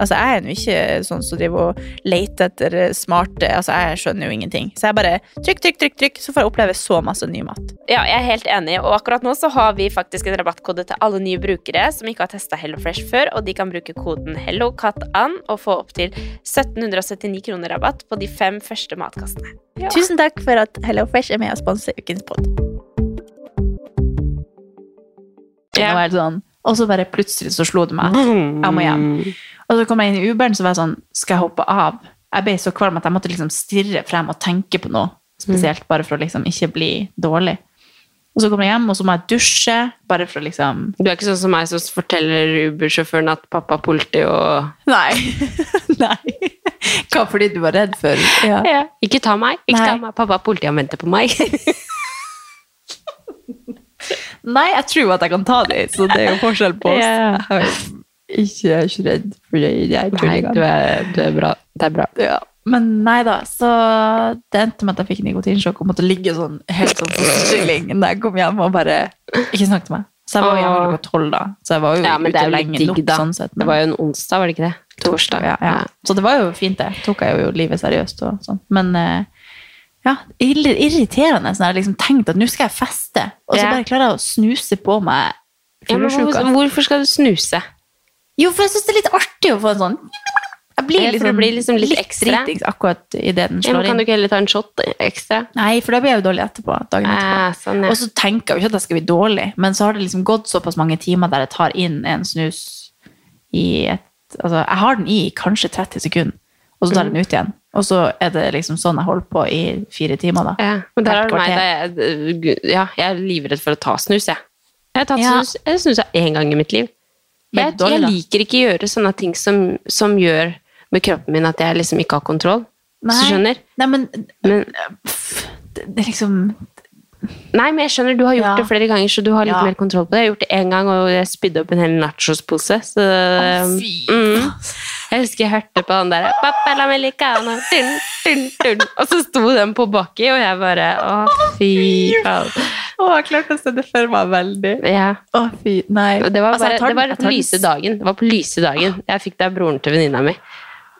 altså, jeg er jo ikke sånn som driver og leter etter smarte Altså, jeg skjønner jo ingenting. Så jeg bare trykk, trykk, trykk, trykk, så får jeg oppleve så masse ny mat. Ja, jeg er helt enig. Og akkurat nå så har vi faktisk en rabattkode til alle nye brukere som ikke har testa HelloFresh før, og de kan bruke koden HelloCatAnn og få opptil 1779 kroner rabatt på de fem første matkastene. Ja. Tusen takk for at Hello Fresh er med og sponser ukens pod. Ja. Og, er det sånn, og så bare plutselig så slo det meg. Jeg må hjem. Og så kom jeg inn i Uberen, så var jeg sånn Skal jeg hoppe av? Jeg ble så kvalm at jeg måtte liksom stirre frem og tenke på noe spesielt, bare for å liksom ikke bli dårlig. Og så kommer jeg hjem, og så må jeg dusje, bare for å liksom Du er ikke sånn som meg som forteller Uber-sjåføren at pappa er politi og Nei. [laughs] Nei. Hva, fordi du var redd for ja. ja. Ikke ta meg. Ikke Nei. ta meg. Pappa er politi, han venter på meg. Nei, jeg tror at jeg kan ta det, så det er jo forskjell på oss. Ja. Jeg er ikke, ikke redd for det. Jeg [laughs] tror jeg kan. er, bra. Det er bra. Ja. Men nei da, så det endte med at jeg fikk nikotinsjokk og måtte ligge sånn helt sånn på stilling når jeg kom hjem og bare ikke snakket til meg. Så jeg var jo hjemme Åh. klokka tolv da, så jeg var jo Ja, men det ute er vel lenge digg, nok da. sånn sett. Det var jo en onsdag, var det ikke det? Torsdag. ja, ja. Så det var jo fint, det. Tok jeg jo livet seriøst og sånn. Men eh, ja, ille- irriterende. Sånn, jeg har liksom tenkt at nå skal jeg feste, og så Ja. bare klarer jeg å snuse på meg Ja, men fyllesjuka. hvor, hvorfor skal du snuse? Jo, for jeg syns det er litt artig å få en sånn Jeg Ja, for det blir liksom litt ekstra. dritings akkurat idet den Ja, slår men kan du inn. ikke heller ta en shot ekstra? Nei, for da blir jeg jo dårlig etterpå. dagen etterpå. Eh, sånn, ja. Og så tenker jeg jo ikke at jeg skal bli dårlig, men så har det liksom gått såpass mange timer der jeg tar inn en snus i et Altså, jeg har den i kanskje 30 sekunder, og så tar Mm. jeg den ut igjen. Og så er det liksom sånn jeg holder på i fire timer, da. Ja, men der Hvert har du meg. kvarter. Det er- gud, ja, jeg er livredd for å ta snus, jeg. Jeg har tatt Ja. snus, jeg snusa én gang i mitt liv. Men Jeg, dårlig, jeg da. liker ikke å gjøre sånne ting som, som gjør med kroppen min at jeg liksom ikke har kontroll. Hvis du skjønner? Nei, men Men, pff, det, det er liksom nei, men jeg skjønner, du har gjort Ja. det flere ganger, så du har litt Ja. mer kontroll på det. Jeg har gjort det én gang, og jeg spydde opp en hel nachospose. Så Fy. mm. Jeg husker jeg hørte på den der «Pappa la meg americano», dun, dun, dun. Og så sto den på baki, og jeg bare Å, fy faen. Å, jeg klarte å se det for meg veldig. Ja. Å, fy. Nei. Og Det var, Altså, bare, jeg tar den- det var jeg på tar den- lyse dagen. Det var på lyse dagen. Jeg fikk det av broren til venninna mi.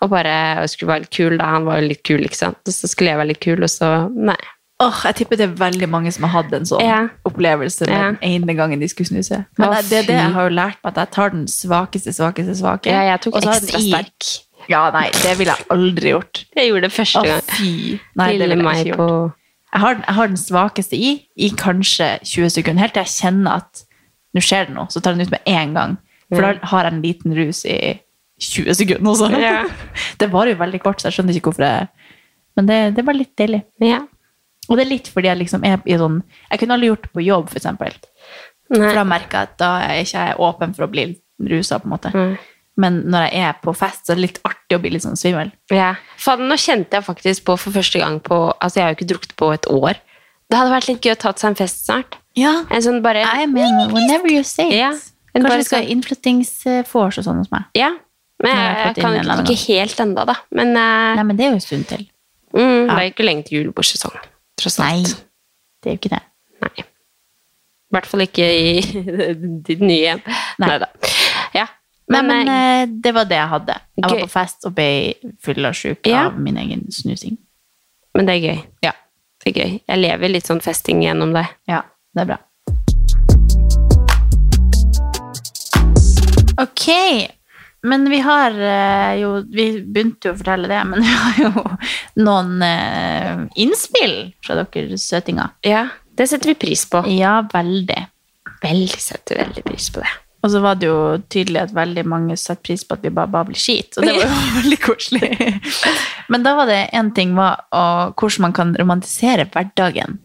Og bare jeg skulle være litt kul, da. Han var jo litt kul, ikke sant. Og så skulle jeg være litt kul, og så Nei. Åh, jeg tipper det er veldig mange som har hatt en sånn Ja. opplevelse med Ja. den ene gangen de skulle snuse. Men Å, det, det er det jeg fy. har jo lært meg, at jeg tar den svakeste, svakeste, svake. Ja, jeg tok og så har jeg ekstra den i- sterk. Ja, nei, det ville jeg aldri gjort. Jeg gjorde det første Å, gang. fy. Nei, det ville Lille jeg meg ikke på gjort. Jeg har, den- jeg har den svakeste i, i kanskje 20 sekunder, helt til jeg kjenner at nå skjer det noe, så tar jeg den ut med en gang. For Ja. da har jeg en liten rus i 20 sekunder også. Ja. [laughs] Det var jo veldig kort, så jeg skjønner ikke hvorfor jeg... Men det, det var litt deilig. Ja. Og det er litt fordi jeg liksom er i sånn Jeg kunne aldri gjort det på jobb, for eksempel. For da Nei. merker jeg at da er jeg ikke åpen for å bli rusa, på en måte. Mm. Men når jeg er på fest, så er det litt artig å bli litt sånn svimmel. Ja. Faen, nå kjente jeg faktisk på for første gang på Altså, jeg har jo ikke drukket på et år. Det hadde vært litt gøy å tatt seg en fest snart. Ja, En sånn bare jeg mener whenever you say it. Ja, men Kanskje bare det skal sånn- innflyttingsvors og sånn hos meg. Ja. Nei, Men jeg jeg, har fått jeg kan inn en eller ikke, annen ikke helt ennå, da. Men eh, Nei, men det er jo en stund til. mm, det er ikke lenge til julebordsesong, tross Nei, alt. det er jo ikke det. Nei. I hvert fall ikke i [laughs] ditt nye hjem. Nei. Neida. Ja. Nei, Men, men eh, eh, det var det jeg hadde. Jeg var gøy. på fest og ble fyllesyk Ja. av min egen snusing. men det er gøy. Ja. Det er gøy. Jeg lever litt sånn festing gjennom deg. Ja, det er bra. Ok, men vi har eh, jo Vi begynte jo å fortelle det, men [laughs] vi har jo noen eh, innspill fra dere søtinger. Ja, det setter vi pris på. Ja, veldig. Veldig setter veldig pris på det. Og så var det jo tydelig at veldig mange satte pris på at vi bare babler skit, og det var jo [laughs] veldig koselig. Men da var det én ting var å, hvordan man kan romantisere hverdagen,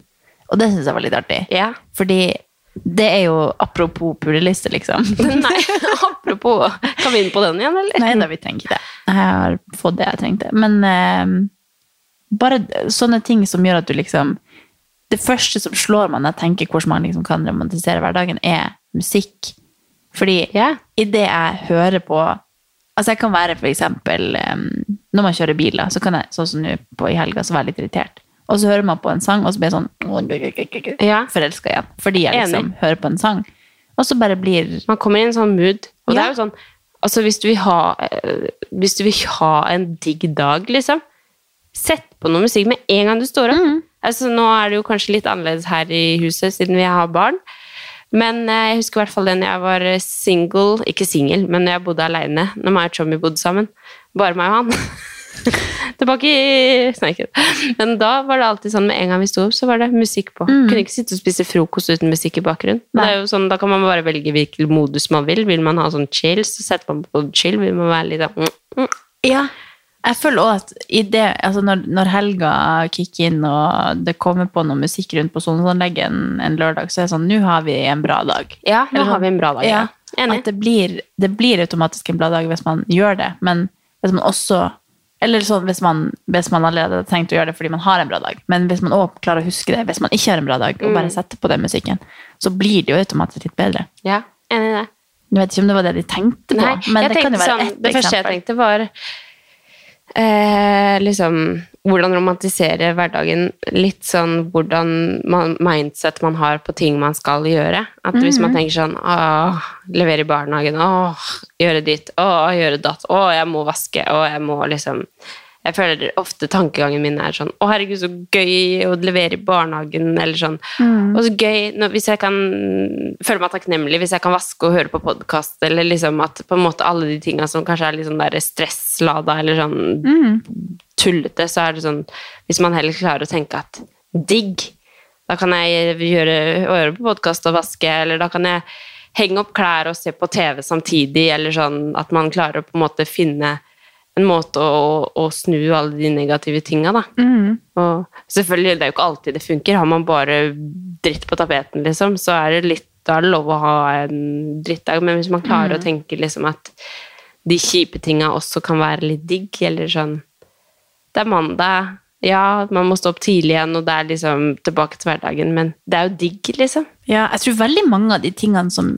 og det syns jeg var litt artig. Ja. [laughs] Fordi det er jo apropos puleliste, liksom. [laughs] Nei, apropos, kan vi inn på den igjen, eller? Nei da, vi trenger ikke det. Jeg har fått det jeg trengte. Men eh, bare d- sånne ting som gjør at du liksom Det første som slår meg når jeg tenker hvordan man liksom kan romantisere hverdagen, er musikk. Fordi Ja. i det jeg hører på Altså jeg kan være for eksempel eh, Når man kjører bil, da, så kan jeg sånn som nå på i helga, så være litt irritert. Og så hører man på en sang, og så blir jeg sånn Ja. Forelska igjen. Fordi jeg liksom hører på en sang. Og så bare blir Man kommer i en sånn mood, og det Ja. er jo sånn, altså hvis du vil ha, eh, hvis du vil ha en digg dag, liksom, sett på noe musikk med en gang du står opp. Altså, nå er det jo kanskje litt annerledes her i huset, siden vi har barn, men eh, jeg husker i hvert fall den jeg var eh, single, ikke single, men når jeg bodde alene, når meg og Tommy bodde sammen, bare meg og han. [laughs] Tilbake i Nei, ikke det. Men da var det alltid sånn med en gang vi sto opp, så var det musikk på. Kunne ikke sitte og spise frokost uten musikk i bakgrunnen. Og Det er jo sånn, da kan man bare velge hvilken modus man vil. Vil man ha sånn chill, så setter man på chill. Vil man være litt sånn mm, mm. Ja. Jeg føler òg at i det, altså når, når helga kicker inn, og det kommer på noe musikk rundt på soneanlegget en, en lørdag, så er det sånn Nå har vi en bra dag. Ja, nå Eller sånn- har vi en bra dag. Ja. Ja, at det blir, det blir automatisk en bra dag hvis man gjør det, men hvis man også Eller sånn hvis man, hvis man allerede har tenkt å gjøre det fordi man har en bra dag, men hvis man også klarer å huske det hvis man ikke har en bra dag, og Mm. bare setter på den musikken, så blir det jo automatisk litt bedre. ja. Enig i det. Jeg vet ikke om det var det de tenkte på, Nei, men jeg det kan jo tenkte være sånn, ett Det første jeg eksempel. tenkte, var eh, liksom Hvordan romantisere hverdagen. Litt sånn hvordan man, mindset man har på ting man skal gjøre. At Hvis Mhm. man tenker sånn åh, Levere i barnehagen. Åh, gjøre ditt. Åh, gjøre datt. Åh, jeg må vaske. Åh, jeg må liksom jeg føler ofte tankegangen min er sånn Å, herregud, så gøy å levere i barnehagen, eller sånn. Og så gøy når, hvis jeg kan føle meg takknemlig hvis jeg kan vaske og høre på podkast, eller liksom at på en måte alle de tinga som kanskje er litt sånn der stresslada eller sånn tullete, så er det sånn Hvis man heller klarer å tenke at digg, da kan jeg gjøre, høre på podkast og vaske, eller da kan jeg henge opp klær og se på TV samtidig, eller sånn at man klarer å på en måte finne en måte å, å snu alle de negative tinga, da. Og selvfølgelig, det er jo ikke alltid det funker. Har man bare dritt på tapeten, liksom, så er det litt da er det lov å ha en drittdag, men hvis man klarer å tenke liksom at de kjipe tinga også kan være litt digg, eller sånn Det er mandag, ja, man må stå opp tidlig igjen, og det er liksom tilbake til hverdagen, men det er jo digg, liksom. Ja, jeg tror veldig mange av de tingene som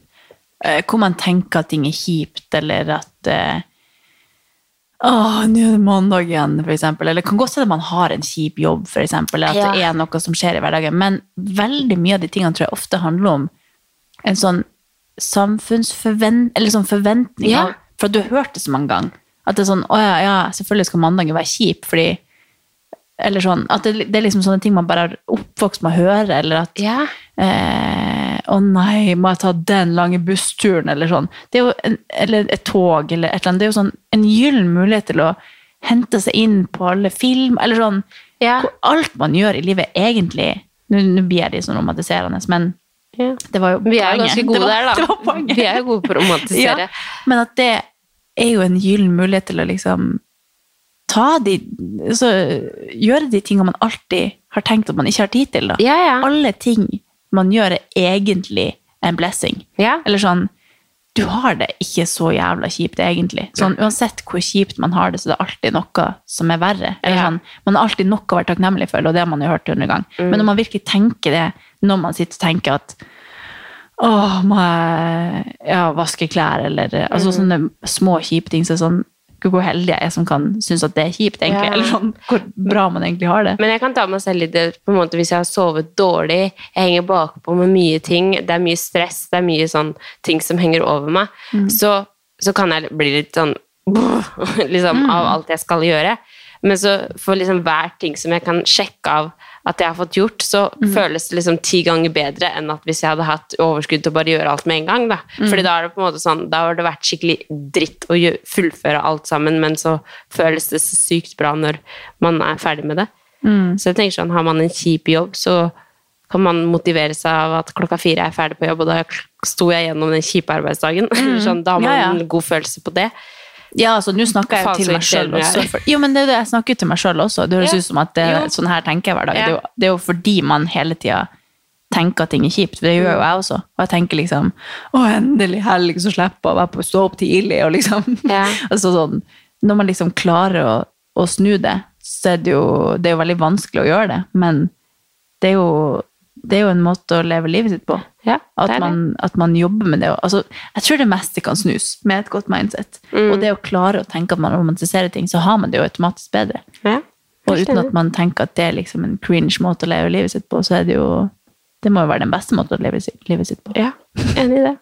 eh, Hvor man tenker at ting er kjipt, eller at eh, Åh, nå er det mandag igjen, for eksempel. Eller det kan godt hende man har en kjip jobb, for eksempel. Eller at det er noe som skjer i hverdagen. Men veldig mye av de tingene tror jeg ofte handler om en sånn samfunnsforvent... Eller sånn forventning. Ja. av- For at du har hørt det så mange ganger. At det er sånn Å ja, ja, selvfølgelig skal mandagen være kjip, fordi Eller sånn. At det, det er liksom sånne ting man bare har oppvokst med å høre, eller at Ja. Eh, å nei, må jeg ta den lange bussturen, eller sånn. Det er jo en, eller et tog, eller et eller annet. Det er jo sånn en gyllen mulighet til å hente seg inn på alle film, eller sånn. Ja. Hvor alt man gjør i livet egentlig Nå nå blir jeg litt sånn romantiserende, men Ja. det var jo Vi er jo ganske gode Det var- der, da. Det var poenget. Vi er jo gode på å romantisere. [laughs] Ja, men at det er jo en gyllen mulighet til å liksom ta de så, Gjøre de tingene man alltid har tenkt at man ikke har tid til, da. Ja, ja. Alle ting man gjør, er egentlig en blessing. Ja. Eller sånn Du har det ikke så jævla kjipt, egentlig. Sånn, uansett hvor kjipt man har det, så det er alltid noe som er verre. Eller Ja. Mm. sånn, man har alltid noe å være takknemlig for, og det har man jo hørt hundre ganger. Men når man virkelig tenker det, når man sitter og tenker at Åh, må jeg ja, vaske klær, eller altså, sånne små kjipe ting. Så er det sånn, Gud, hvor heldig jeg er som kan synes at det er kjipt, egentlig. Ja. Eller sånn, hvor bra man egentlig har det. Men jeg kan ta meg selv i det på en måte hvis jeg har sovet dårlig, jeg henger bakpå med mye ting, det er mye stress, det er mye sånn ting som henger over meg, så, så kan jeg bli litt sånn [laughs] liksom, av alt jeg skal gjøre. Men så for liksom hver ting som jeg kan sjekke av at jeg har fått gjort, så føles det liksom ti ganger bedre enn at hvis jeg hadde hatt overskudd til å bare gjøre alt med en gang. Da. Fordi da er det på en måte sånn, da har det vært skikkelig dritt å gjø- fullføre alt sammen, men så føles det så sykt bra når man er ferdig med det. Mm. Så jeg tenker sånn, har man en kjip jobb, så kan man motivere seg av at klokka fire er jeg ferdig på jobb, og da sto jeg gjennom den kjipe arbeidsdagen. [laughs] sånn, da har man Mm. Ja, ja. en god følelse på det. Ja, altså, nå snakker jeg Faen, jo til så meg selv irriterende også. jeg er. For, jo, men det er jo det, jeg snakker jo til meg selv også. Det høres Ja. ut som at det, Jo. sånn her tenker jeg hver dag. Ja. Det, er jo, det er jo fordi man hele tida tenker at ting er kjipt. for Det Mm. gjør jo jeg også. Og jeg tenker liksom Å, endelig helg, så slipper jeg å være på, stå opp tidlig, og liksom Ja. [laughs] altså, sånn, Når man liksom klarer å, å snu det, så er det jo Det er jo veldig vanskelig å gjøre det, men det er jo det er jo en måte å leve livet sitt på. Ja, at, det er det. man, at man jobber med det. Altså, jeg tror det meste kan snus med et godt mindset. Og det å klare å tenke at man romantiserer ting, så har man det jo automatisk bedre. Og uten at man tenker at det er liksom en cringe måte å leve livet sitt på, så er det jo Det må jo være den beste måten å leve si- livet sitt på. Ja, [laughs] enig i det.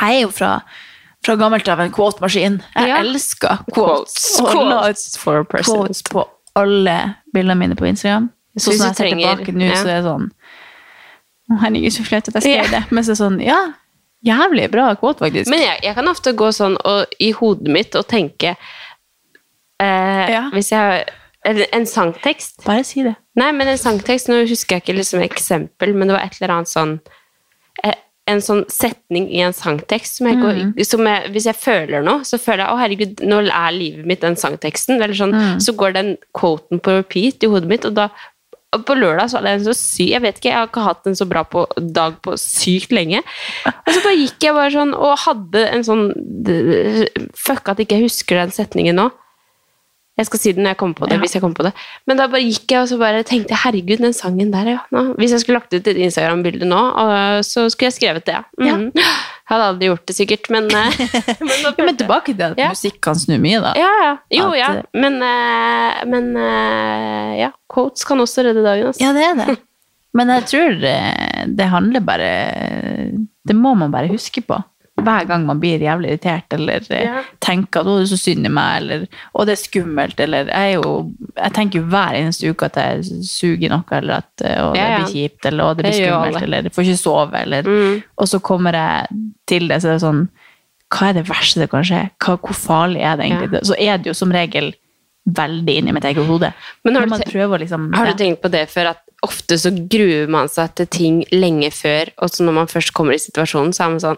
Jeg er jo fra, fra gammelt av en quote-maskin. Jeg Ja. elsker quotes. Og la ut for quotes på alle bildene mine på Instagram. Jeg Så synes når du jeg ser trenger- tilbake nå, ja. så er det sånn Å, herregud, så flaut at jeg skrev Ja. det. Men så er det sånn Ja, jævlig bra quote, faktisk. Men jeg, jeg kan ofte gå sånn og, i hodet mitt og tenke eh, Ja. Hvis jeg har en, en sangtekst Bare si det. Nei, men en sangtekst, nå husker jeg ikke liksom eksempel, men det var et eller annet sånn eh, en sånn setning i en sangtekst som jeg går, Mm. som jeg, Hvis jeg føler noe, så føler jeg å herregud, nå er livet mitt den sangteksten. Eller sånn, Mm. Så går den quoten på repeat i hodet mitt, og da og på lørdag så hadde jeg en så syk Jeg vet ikke, jeg har ikke hatt en så bra på, dag på sykt lenge. Og så bare gikk jeg bare sånn og hadde en sånn d- Fuck at ikke jeg husker den setningen nå. Jeg skal si den når jeg kommer på det, hvis jeg kommer på det. Men da bare gikk jeg og så bare tenkte jeg, herregud, den sangen der, ja. Nå. Hvis jeg skulle lagt ut et Instagram-bilde nå, øh, så skulle jeg skrevet det. Mm. Jeg hadde aldri gjort det sikkert, men, [laughs] øh, men nå Jo, men følte jeg- tilbake til at Ja. musikk kan snu mye, da. Ja, ja. Jo, At, ja. øh, Men, øh, men øh, ja, quotes kan også redde dagen, altså. Ja, det er det. Men jeg tror eh, det handler bare Det må man bare huske på. Hver gang man blir jævlig irritert eller eh, Ja. tenker at 'å, det er så synd i meg', eller 'å, det er skummelt', eller Jeg, er jo, jeg tenker jo hver eneste uke at jeg suger i noe, eller at eh, 'å, det Ja, ja. blir kjipt', eller 'å, det blir Det gjør skummelt', alle. eller 'får ikke sove', eller Mm. Og så kommer jeg til det, så er det sånn Hva er det verste det kan skje? Hva, hvor farlig er det egentlig? Så er det jo som regel veldig inni mitt eget hode. Men har Når du man te- prøver å liksom Har ja. du tenkt på det før, at ofte så gruer man seg til ting lenge før, og så når man først kommer i situasjonen, så er man sånn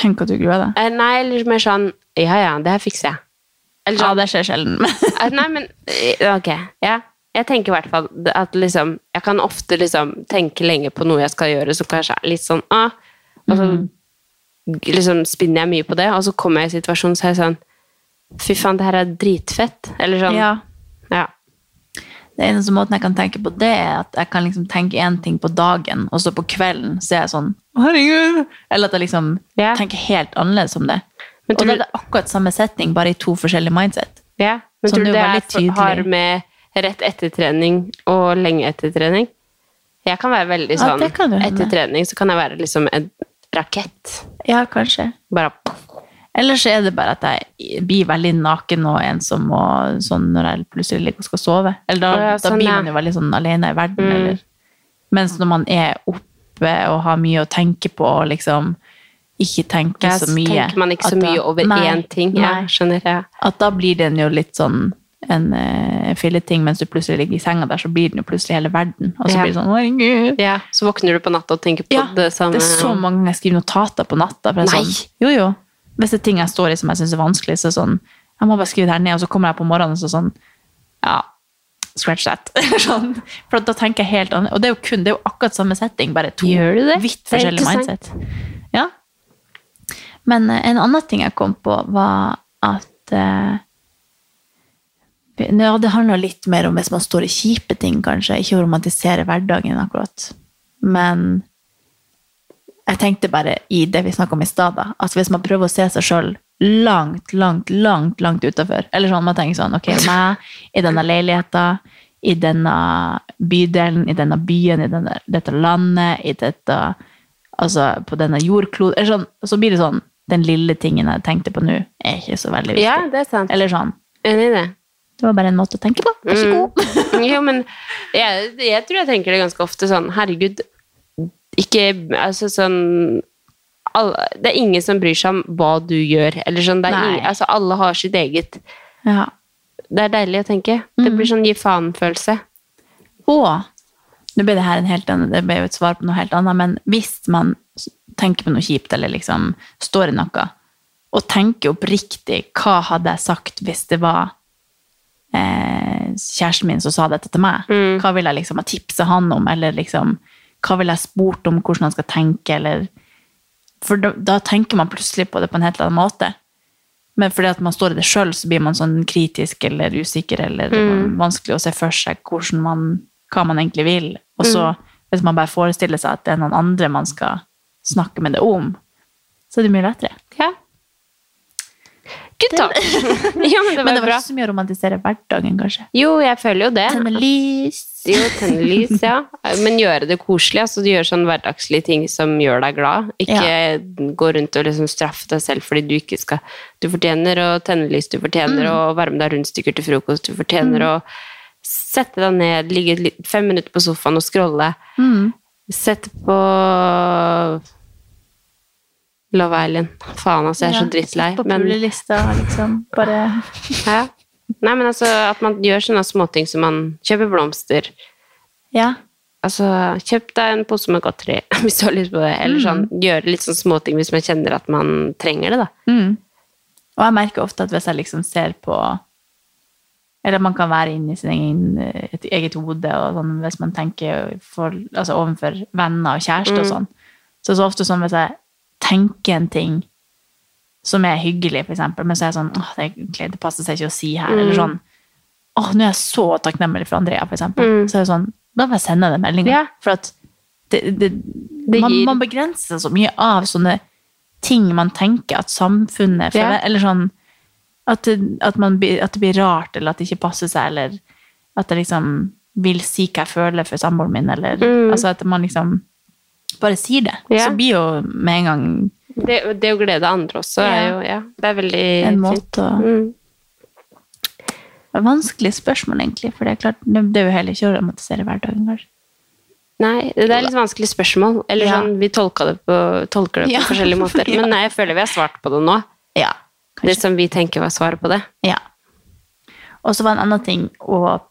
Tenk at du gruer deg. eh, Nei, eller mer sånn Ja, ja, det her fikser jeg. Eller Ja, sånn det skjer sjelden. Eh, Nei, men [laughs] eh, Ok, ja. Jeg tenker i hvert fall at liksom Jeg kan ofte liksom tenke lenge på noe jeg skal gjøre, som kanskje er litt sånn ah, Og så Mm. g- liksom spinner jeg mye på det, og så kommer jeg i situasjonen så er jeg sånn Fy faen, det her er dritfett. Eller sånn. Ja. ja. Det eneste måten jeg kan tenke på det, er at jeg kan liksom tenke én ting på dagen, og så på kvelden så er jeg sånn Herregud! Eller at jeg liksom Ja. tenker helt annerledes om det. Men Og tror da du- er det akkurat samme setting, bare i to forskjellige mindset. Ja, men Sånn tror du det det var er, litt tydelig. har med rett etter trening og lenge etter trening? Jeg kan være veldig Ja, sånn det kan du hende. Etter trening så kan jeg være liksom en rakett. Ja, kanskje. Bare Ellers er det bare at jeg blir veldig naken og ensom og sånn når jeg plutselig ligger og skal sove. Eller da, Å ja, sånn, da blir ja. man jo veldig sånn alene i verden. Mm. Eller. Mens når man er oppe og har mye å tenke på og liksom ikke tenker Ja, så så mye tenker man ikke så at da- mye over Nei, én ting. Ja, nei. skjønner jeg. At da blir den jo litt sånn en uh, filleting mens du plutselig ligger i senga der, så blir den jo plutselig hele verden. Og så Ja. blir det sånn, herregud. Ja, så våkner du på natta og tenker på Ja, det samme. Det er så mange ganger jeg skriver notater på natta. for det er Nei. Sånn, jo, jo. Hvis det er ting jeg står i som jeg syns er vanskelig, så er det sånn Jeg må bare skrive det her ned, og så kommer jeg på morgenen og så sånn Ja, scratch that. [laughs] Eller sånn. For da tenker jeg helt annerledes. Og det er jo kun, det er jo akkurat samme setting, bare to Gjør du det? vidt Det er forskjellige mindset. interessant. Ja. Men eh, en annen ting jeg kom på, var at eh, ja, Det handler litt mer om hvis man står i kjipe ting, kanskje. Ikke å romantisere hverdagen, akkurat. Men jeg tenkte bare i det vi snakka om i stad, da. At hvis man prøver å se seg sjøl langt, langt, langt langt utafor Eller sånn, man tenker sånn [laughs] Ok, meg i denne leiligheta, i denne bydelen, i denne byen, i denne, dette landet, i dette Altså på denne jordkloden eller sånn, Så blir det sånn Den lille tingen jeg tenkte på nå, er ikke så veldig viktig. Ja, det er sant. Eller sånn Enig i det. Mm. Det var bare en måte å tenke på. Vær så god. jo, men jeg, jeg tror jeg tenker det ganske ofte sånn, herregud, ikke, altså sånn, alle, det er ingen som bryr seg om hva du gjør, eller sånn, det er Nei. ingen, altså alle har sitt eget, Ja. det er deilig å tenke. Det Mhm. blir sånn gi faen-følelse. Og nå ble det her en helt annen, det ble jo et svar på noe helt annet, men hvis man s- tenker på noe kjipt, eller liksom står i noe, og tenker oppriktig hva hadde jeg sagt hvis det var eh, kjæresten min som sa dette til meg? Hva vil jeg liksom ha tipset han om, eller liksom, hva vil jeg spurt om hvordan han skal tenke, eller For da, da tenker man plutselig på det på en helt annen måte. Men fordi at man står i det sjøl, så blir man sånn kritisk eller usikker, eller Mm. vanskelig å se for seg hvordan man, hva man egentlig vil. Og så, Mm. hvis man bare forestiller seg at det er noen andre man skal snakke med det om, så er det mye lettere. Ja. Good talk! [laughs] ja, men det var, Men det var bra. ikke så mye å romantisere hverdagen, kanskje. Jo, jeg føler jo det. Tenne lys. Jo, tenne lys, ja. Men gjøre det koselig. altså Du gjør sånn hverdagslige ting som gjør deg glad. Ikke gå rundt og liksom straffe deg selv fordi du ikke skal Du fortjener å tenne lys, du fortjener å varme deg rundstykker til frokost, du fortjener å sette deg ned, ligge litt- fem minutter på sofaen og scrolle. Sette på Love Island. Faen, altså, jeg er så drittlei. På men- pulelista, liksom. Bare [laughs] ja. Nei, men altså, at man gjør sånne småting som man kjøper blomster Ja. Altså, kjøp deg en pose med godteri [laughs] hvis du har lyst på det. Mm. Eller sånn, gjøre litt sånn småting hvis man kjenner at man trenger det, da. Mm. Og jeg merker ofte at hvis jeg liksom ser på Eller man kan være inni sin egen, et eget hode og sånn, hvis man tenker for, altså overfor venner og kjæreste og Mm. sånn. Så er det så ofte sånn hvis jeg tenker en ting som er hyggelig, for eksempel, men så er jeg sånn åh, det, er egentlig- det passer seg ikke å si her, Mm. eller sånn åh, nå er jeg så takknemlig for Andrea, for eksempel. Mm. Så er det sånn, da får jeg sende den meldingen. Ja. For at det, det, Det man, gir- man begrenser seg så mye av sånne ting man tenker at samfunnet Ja. føler, eller sånn at det, at, man, blir- at det blir rart, eller at det ikke passer seg, eller at jeg liksom vil si hva jeg føler for samboeren min, eller Mm. altså at man liksom bare sier det. Ja. Så blir jo med en gang Det, det å glede andre også er Ja. jo ja, Det er veldig en fint. måte å Mm. Det er Vanskelig spørsmål, egentlig, for det er klart, det det er jo heller ikke å dramatisere hverdagen, kanskje. Nei, det er litt vanskelig spørsmål. Eller Ja. sånn, Vi tolker det på, tolker det på Ja. forskjellige [laughs] måter. Ja. Men nei, jeg føler vi har svart på det nå. Ja, Det som vi tenker var svaret på det. Ja. Og så var en annen ting og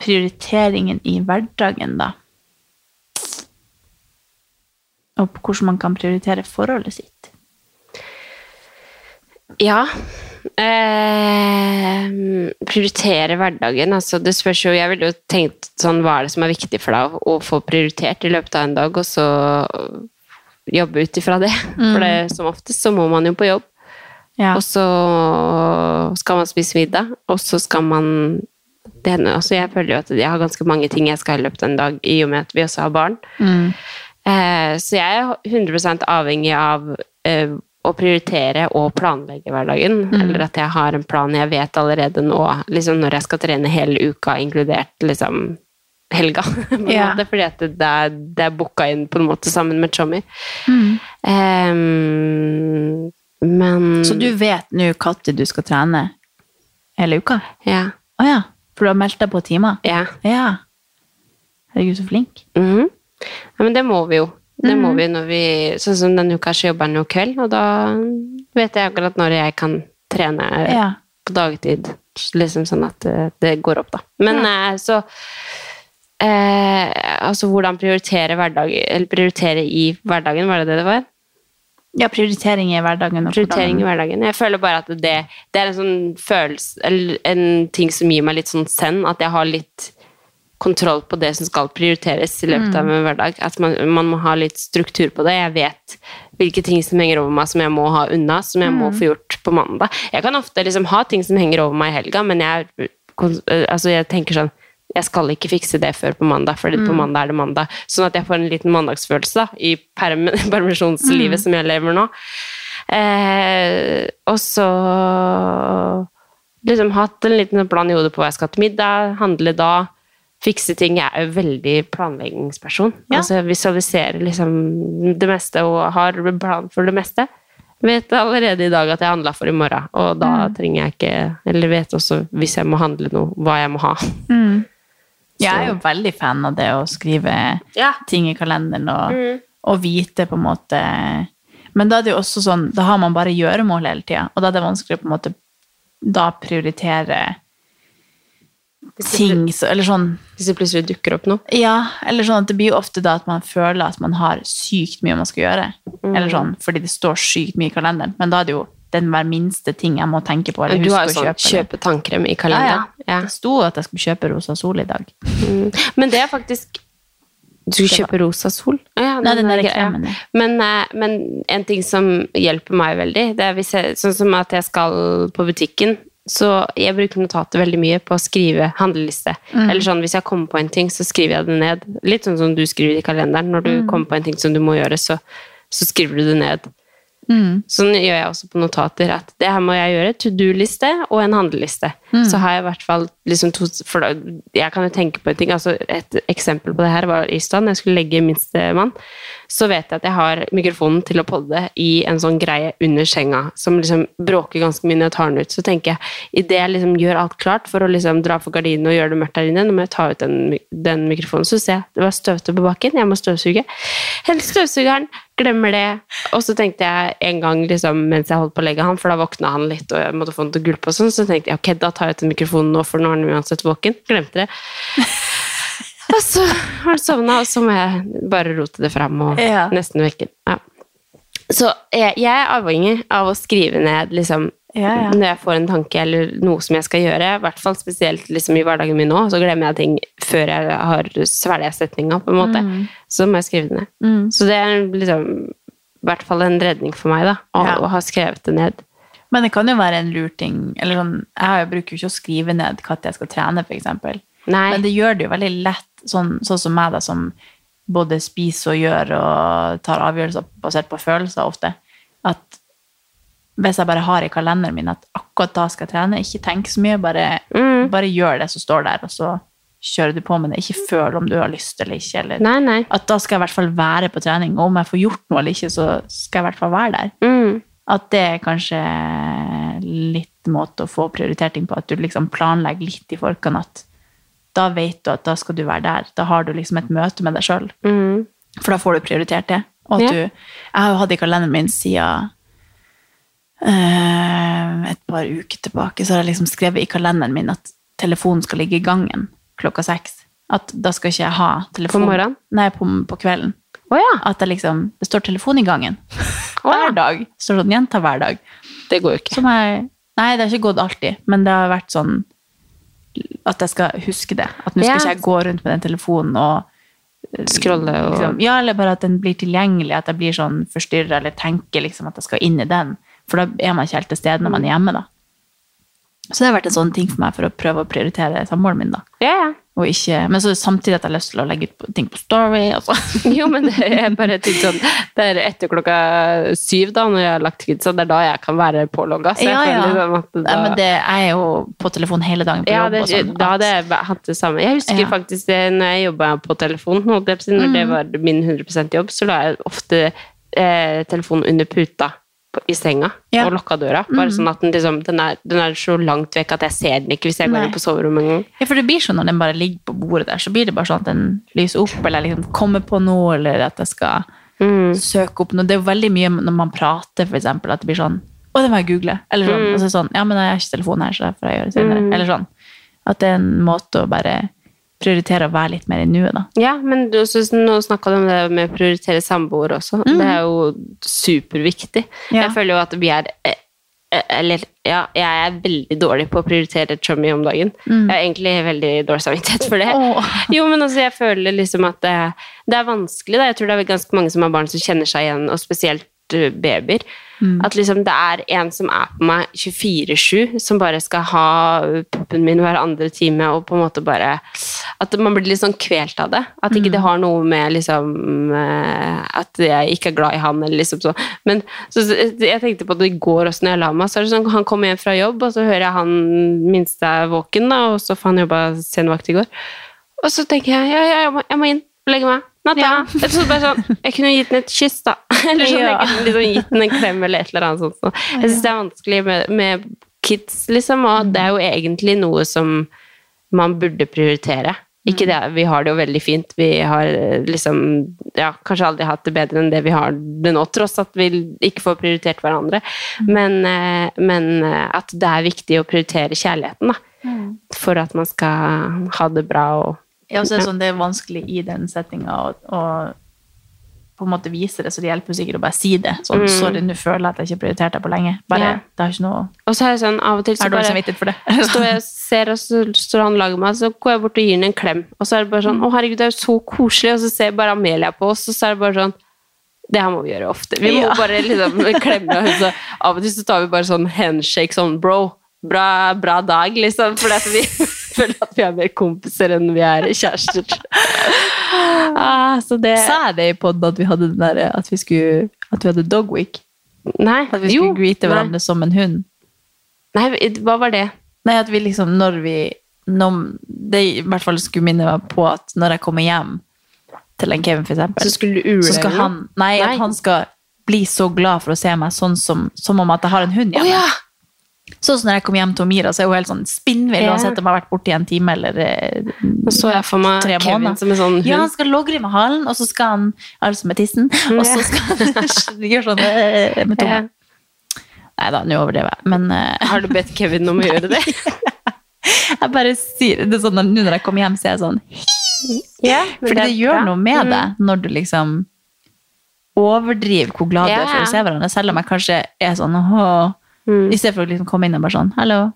prioriteringen i hverdagen, da. Og på hvordan man kan prioritere forholdet sitt. Ja. Eh, prioritere hverdagen. Altså, det spørs jo Jeg ville jo tenkt sånn Hva er det som er viktig for deg å å få prioritert i løpet av en dag, og så jobbe ut ifra det. For det, som oftest så må man jo på jobb. Ja. Og så skal man spise middag, og så skal man det hender, altså Jeg føler jo at jeg har ganske mange ting jeg skal ha i løpet av en dag, i og med at vi også har barn. Mm. Eh, så jeg er 100 avhengig av eh, å prioritere og planlegge hverdagen. Mm. Eller at jeg har en plan jeg vet allerede nå, liksom når jeg skal trene hele uka, inkludert liksom helga. [laughs] på en Ja. måte, fordi at det er, det er booka inn på en måte sammen med Tommy. Mm. Ehm, men Så du vet nå når du skal trene hele uka? Ja. Å ja. For du har meldt deg på timer? ja. Ja. Herregud, så flink. Mhm. Ja, men det må vi jo. Det Mm-hmm. må vi når vi, sånn som Denne uka så jobber han jo kveld, og da vet jeg akkurat når jeg kan trene eh, Ja. på dagtid. Liksom sånn at eh, det går opp, da. Men eh, så eh, Altså hvordan prioritere hverdag, eller prioritere i hverdagen, var det det det var? ja prioritering i hverdagen. og Prioritering i hvordan- hverdagen. Jeg føler bare at det, det er en sånn følelse Eller en ting som gir meg litt sånn send, at jeg har litt kontroll på det som skal prioriteres i løpet av en hverdag. At man, man må ha litt struktur på det. Jeg vet hvilke ting som henger over meg som jeg må ha unna, som jeg må få gjort på mandag. Jeg kan ofte liksom ha ting som henger over meg i helga, men jeg, kon- eh, altså jeg tenker sånn jeg skal ikke fikse det før på mandag, for på mandag er det mandag. Sånn at jeg får en liten mandagsfølelse da, i perm [laughs] permisjonslivet som jeg lever nå. Eh, og så liksom hatt en liten plan i hodet på hva jeg skal til middag, handle da, fikse ting. Jeg er jo veldig planleggingsperson. Ja. Altså jeg visualiserer liksom det meste og har en plan for det meste. Vet allerede i dag at jeg handla for i morgen, og da trenger jeg ikke Eller vet også hvis jeg må handle noe, hva jeg må ha. Jeg er jo veldig fan av det å skrive Ja. Mm. ting i kalenderen og, og vite på en måte Men da er det jo også sånn, da har man bare gjøremål hele tida, og da er det vanskelig å på en måte da prioritere ting så, Eller sånn Hvis det plutselig dukker opp noe. ja, eller sånn at det blir jo ofte da at man føler at man har sykt mye man skal gjøre. Mm. Eller sånn, fordi det står sykt mye i kalenderen. Men da er det jo den hver minste ting jeg må tenke på. Eller Du har huske å jo sånn kjøpe. eller- kjøpe tannkrem i ja, ja. kalenderen. Ja. Det sto at jeg skulle kjøpe Rosa Sol i dag. Men det er faktisk Du kjøper rosa sol? Ja, Nei, den der grei, ja. kremen, ja. Men, eh, men en ting som hjelper meg veldig, det er hvis jeg, sånn som at jeg skal på butikken, så jeg bruker notater veldig mye på å skrive handleliste. Eller sånn, hvis jeg kommer på en ting, så skriver jeg det ned. Litt sånn som du skriver i kalenderen. Når du kommer på en ting som du må gjøre, så, så skriver du det ned. Sånn gjør jeg også på notater. At det her må jeg gjøre. To do-liste og en handleliste. Så har jeg i hvert fall liksom to For da, jeg kan jo tenke på en ting. Altså et eksempel på det her var Island. Jeg skulle legge minstemann. Så vet jeg at jeg har mikrofonen til å podde i en sånn greie under senga som liksom bråker ganske mye når jeg tar den ut. Så tenker jeg idet jeg liksom gjør alt klart for å liksom dra for gardinene og gjøre det mørkt der inne, nå må jeg ta ut den, mi- den mikrofonen. Så ser jeg det var støvete på bakken. Jeg må støvsuge. Hent støvsugeren glemmer det. Og så tenkte jeg en gang liksom, mens jeg holdt på å legge han, for da våkna han litt, og jeg måtte få han til å gulpe og [laughs] sånn, så tenkte jeg ok, da tar jeg ut den mikrofonen nå, for nå er han uansett våken. Glemte det. Og Og så har han sovna, og så må jeg bare rote det fram og Ja. nesten vekke den. Ja. Så jeg, jeg er avhengig av å skrive ned liksom, Ja, ja. når jeg får en tanke eller noe som jeg skal gjøre, i hvert fall spesielt liksom, i hverdagen min nå, så glemmer jeg ting før jeg har svelget setninga, på en måte. Så må jeg skrive det ned. Mm. Så det er liksom, i hvert fall en redning for meg, da, å, Ja. å ha skrevet det ned. Men det kan jo være en lur ting. Eller sånn, jeg har jo- bruker jo ikke å skrive ned når jeg skal trene, f.eks. Nei. Men det gjør det jo veldig lett, sånn, sånn som meg, da, som både spiser og gjør og tar avgjørelser basert på følelser ofte, at hvis jeg bare har i kalenderen min at akkurat da skal jeg trene, ikke tenk så mye, bare, Mm. bare gjør det som står der, og så kjører du på med det. Ikke føl om du har lyst eller ikke. Eller. Nei, nei. At da skal jeg i hvert fall være på trening, og om jeg får gjort noe eller ikke, så skal jeg i hvert fall være der. Mm. At det er kanskje litt måte å få prioritert ting på, at du liksom planlegger litt i forkant at da vet du at da skal du være der. Da har du liksom et møte med deg sjøl, Mm. for da får du prioritert det. Og at Ja. du, jeg har jo hatt i kalenderen min siden eh, et par uker tilbake, så har jeg liksom skrevet i kalenderen min at telefonen skal ligge i gangen klokka seks. At da skal ikke jeg ha telefon. morgenen? Nei, på, på kvelden. Å ja. At det liksom, det står telefon i [laughs] gangen. ja. Hver dag. Så sånn gjenta hver dag. Det går jo ikke. Som jeg, nei, det har ikke gått alltid, men det har vært sånn at jeg skal huske det. At nå skal Ja. ikke jeg gå rundt med den telefonen og eh, Scrolle og liksom, Ja, eller bare at den blir tilgjengelig, at jeg blir sånn forstyrra eller tenker liksom at jeg skal inn i den. For da er man ikke helt til stede når man er hjemme, da. Så det har vært en sånn ting for meg for å prøve å prioritere samboeren min, da. Ja, ja. Og ikke, men så samtidig at jeg har lyst til å legge ut på- ting på Story. Altså. [laughs] Jo, [laughs] men det er bare tenkt sånn Det er etter klokka syv, da, når jeg har lagt kidsa, det er da jeg kan være pålogga. Så jeg Ja, ja. føler liksom at da Nei, men det, jeg er jo på telefon hele dagen på ja, jobb. det, og sånn, da at- hadde jeg væ- hatt det samme. Jeg husker Ja. Mm. faktisk det når jeg jobba på telefon. Når det var min 100 jobb, så la jeg ofte eh, telefonen under puta på, i senga Ja. Mm. og lukka døra. Bare sånn at den, liksom, den, er, den er så langt vekk at jeg ser den ikke hvis jeg Nei. går inn på soverommet engang. Ja, for det blir sånn når den bare ligger på bordet der, så blir det bare sånn at den lyser opp, eller jeg liksom kommer på noe, eller at jeg skal Mm. søke opp noe. Det er jo veldig mye når man prater, for eksempel, at det blir sånn, å, det må jeg google, eller Mm. sånn. Og så er det sånn, ja, men jeg har ikke telefonen her, så det får jeg gjøre det senere. Eller sånn. At det er en måte å bare prioritere å være litt mer i nuet, da. Ja, men du, så, nå snakka du om det med å prioritere samboer også. Det er jo superviktig. Mm. Ja. Jeg føler jo at vi er eh, eh, Eller ja, jeg er veldig dårlig på å prioritere så mye om dagen. Jeg har egentlig veldig dårlig samvittighet for det. Mm. Åh. [laughs] Jo, men altså, jeg føler liksom at det, det er vanskelig. Da. Jeg tror det er ganske mange som har barn som kjenner seg igjen, og spesielt eh, babyer. At liksom det er en som er på meg 24-7, som bare skal ha eh, puppen min hver andre time, og på en måte bare At man blir litt sånn kvelt av det. At ikke det har noe med liksom eh, At jeg ikke er glad i han, eller liksom sånn. Men så, så jeg tenkte på det i går også når jeg la meg. Så er det sånn, han kommer hjem fra jobb, og så hører jeg han minste er våken, da, og så får han jobba senvakt i går. Og så tenker jeg ja, ja, jeg, må, jeg må inn og legge meg. Natta. Jeg, trodde bare sånn, jeg kunne gitt den et kyss, da. Eller sånn, Ja. Jeg kunne liksom gitt den en klem eller et eller annet sånt. Så. Jeg syns det er vanskelig med, med kids, liksom. Og det er jo egentlig noe som man burde prioritere. Ikke Mm. det, Vi har det jo veldig fint. Vi har eh, liksom ja, kanskje aldri hatt det bedre enn det vi har det nå, tross at vi ikke får prioritert hverandre. Mm. Men, eh, men eh, at det er viktig å prioritere kjærligheten, da. Mm. For at man skal ha det bra og Ja, og så er det sånn, det er vanskelig i den settinga å, å på en måte vise det, så det hjelper jo sikkert å bare si det. Sånn, sorry, nå føler jeg at jeg ikke har prioritert deg på lenge. Bare, Ja. det har ikke noe... Og så er det sånn, av og til så Er dårlig bare samvittighet [laughs] for det. står jeg og ser, og så står han og lager meg, så går jeg bort og gir han en klem. Og så er det bare sånn, å herregud, det er jo så koselig. Og så ser bare Amelia på oss, og så er det bare sånn, det her må vi gjøre ofte. Vi må bare [laughs] liksom klemme oss. og Av og til så tar vi bare sånn handshake, sånn bro, bra, bra dag, liksom. For at vi [laughs] føler at vi er mer kompiser enn vi er [laughs] kjærester. Ah, så det... Sa jeg det i podden at vi hadde den der, at vi skulle at vi hadde dog week? Nei, At vi skulle greete hverandre som en hund? Nei, nei, hva var det? Nei, at vi liksom, når vi når, Det i hvert fall skulle minne meg på at når jeg kommer hjem til en Kevin, for eksempel, Så skulle du ule så skal eller noe? han Nei, Nei. at han skal bli så glad for å se meg sånn som, som om at jeg har en hund Å hjemme. ja! Sånn som når jeg kommer hjem til Mira, så er hun helt sånn spinnvill, Ja. uansett om jeg har vært borte i en time eller eh, Nå så jeg for meg tre Kevin måneder. som en sånn hund. Ja, han skal logre med halen, og så skal han altså med tissen, og så skal han [laughs] gjøre sånn eh, med Ja. tunga. Nei da, nå overdriver jeg, men eh, Har du bedt Kevin om å gjøre det? jeg bare sier det sånn at nå når jeg kommer hjem, så er jeg sånn «Hi!» [laughs] Ja, men Fordi det, er gjør bra. noe med Mm. det når du liksom overdriver hvor glad du er for Ja. å se hverandre, selv om jeg kanskje er sånn åh, Mm. i stedet for å liksom komme inn og bare sånn hallo.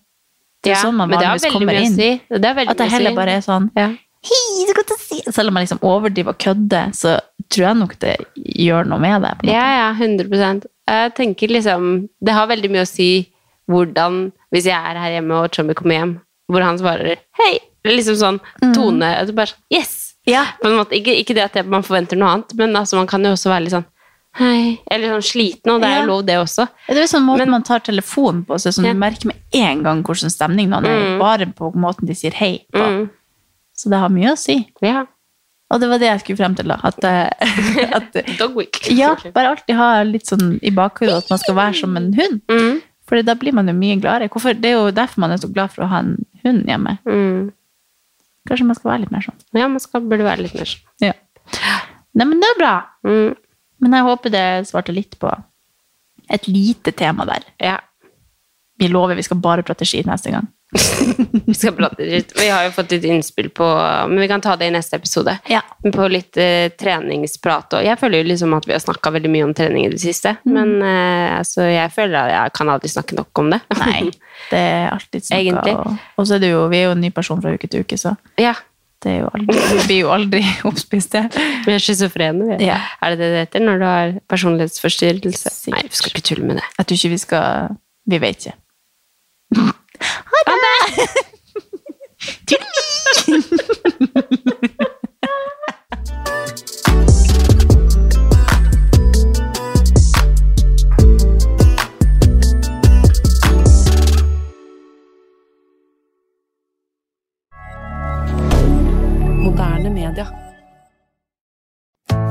Det er Ja, sånn man men det har vanligvis veldig kommer mye å inn. si. Det er veldig At jeg mye å heller si. bare er sånn Ja. hei, så godt å si Selv om jeg liksom overdriver og kødder, så tror jeg nok det gjør noe med det. På en måte. Ja, ja, 100 Jeg tenker liksom Det har veldig mye å si hvordan Hvis jeg er her hjemme og Chummy kommer hjem, hvor han svarer 'hei', eller liksom sånn tone at du bare sånn, Yes! Ja. På en måte, ikke, ikke det at det- man forventer noe annet, men altså, man kan jo også være litt sånn Hei. Eller sånn sliten, og det er jo Ja. lov, det også. Det er jo sånn måten man tar telefonen på, så det er sånn, Ja. du merker med en gang hvordan stemning man er, i, bare på måten de sier hei på. Mm. Så det har mye å si. Ja. Og det var det jeg skulle frem til, da. At, [laughs] eh, at Dog week. Ja, bare alltid ha litt sånn i bakhodet at man skal være som en hund. Mm. For da blir man jo mye gladere. Hvorfor? Det er jo derfor man er så glad for å ha en hund hjemme. Mm. Kanskje man skal være litt mer sånn. ja, man skal, burde være litt mer sånn. Ja. Nei, men det er bra. Mm. Men jeg håper det svarte litt på et lite tema der. Ja. Vi lover vi skal bare prate ski neste gang. Vi skal prate litt. Vi har jo fått litt innspill på Men vi kan ta det i neste episode. Ja. På litt eh, treningsprat og Jeg føler jo liksom at vi har snakka veldig mye om trening i det siste. Mm. Men eh, altså, jeg føler at jeg kan aldri snakke nok om det. Nei, det er alltid snakka. Egentlig. Og, og så er det jo, vi er jo en ny person fra uke til uke, så [laughs] ja. det er jo aldri, vi blir jo aldri [laughs] oppspist. det. Vi er schizofrene, vi. Ja. Er det det det heter når du har personlighetsforstyrrelse? Sikkert. Nei, vi skal ikke tulle med det. Jeg tror ikke vi skal Vi vet ikke. Moderne media.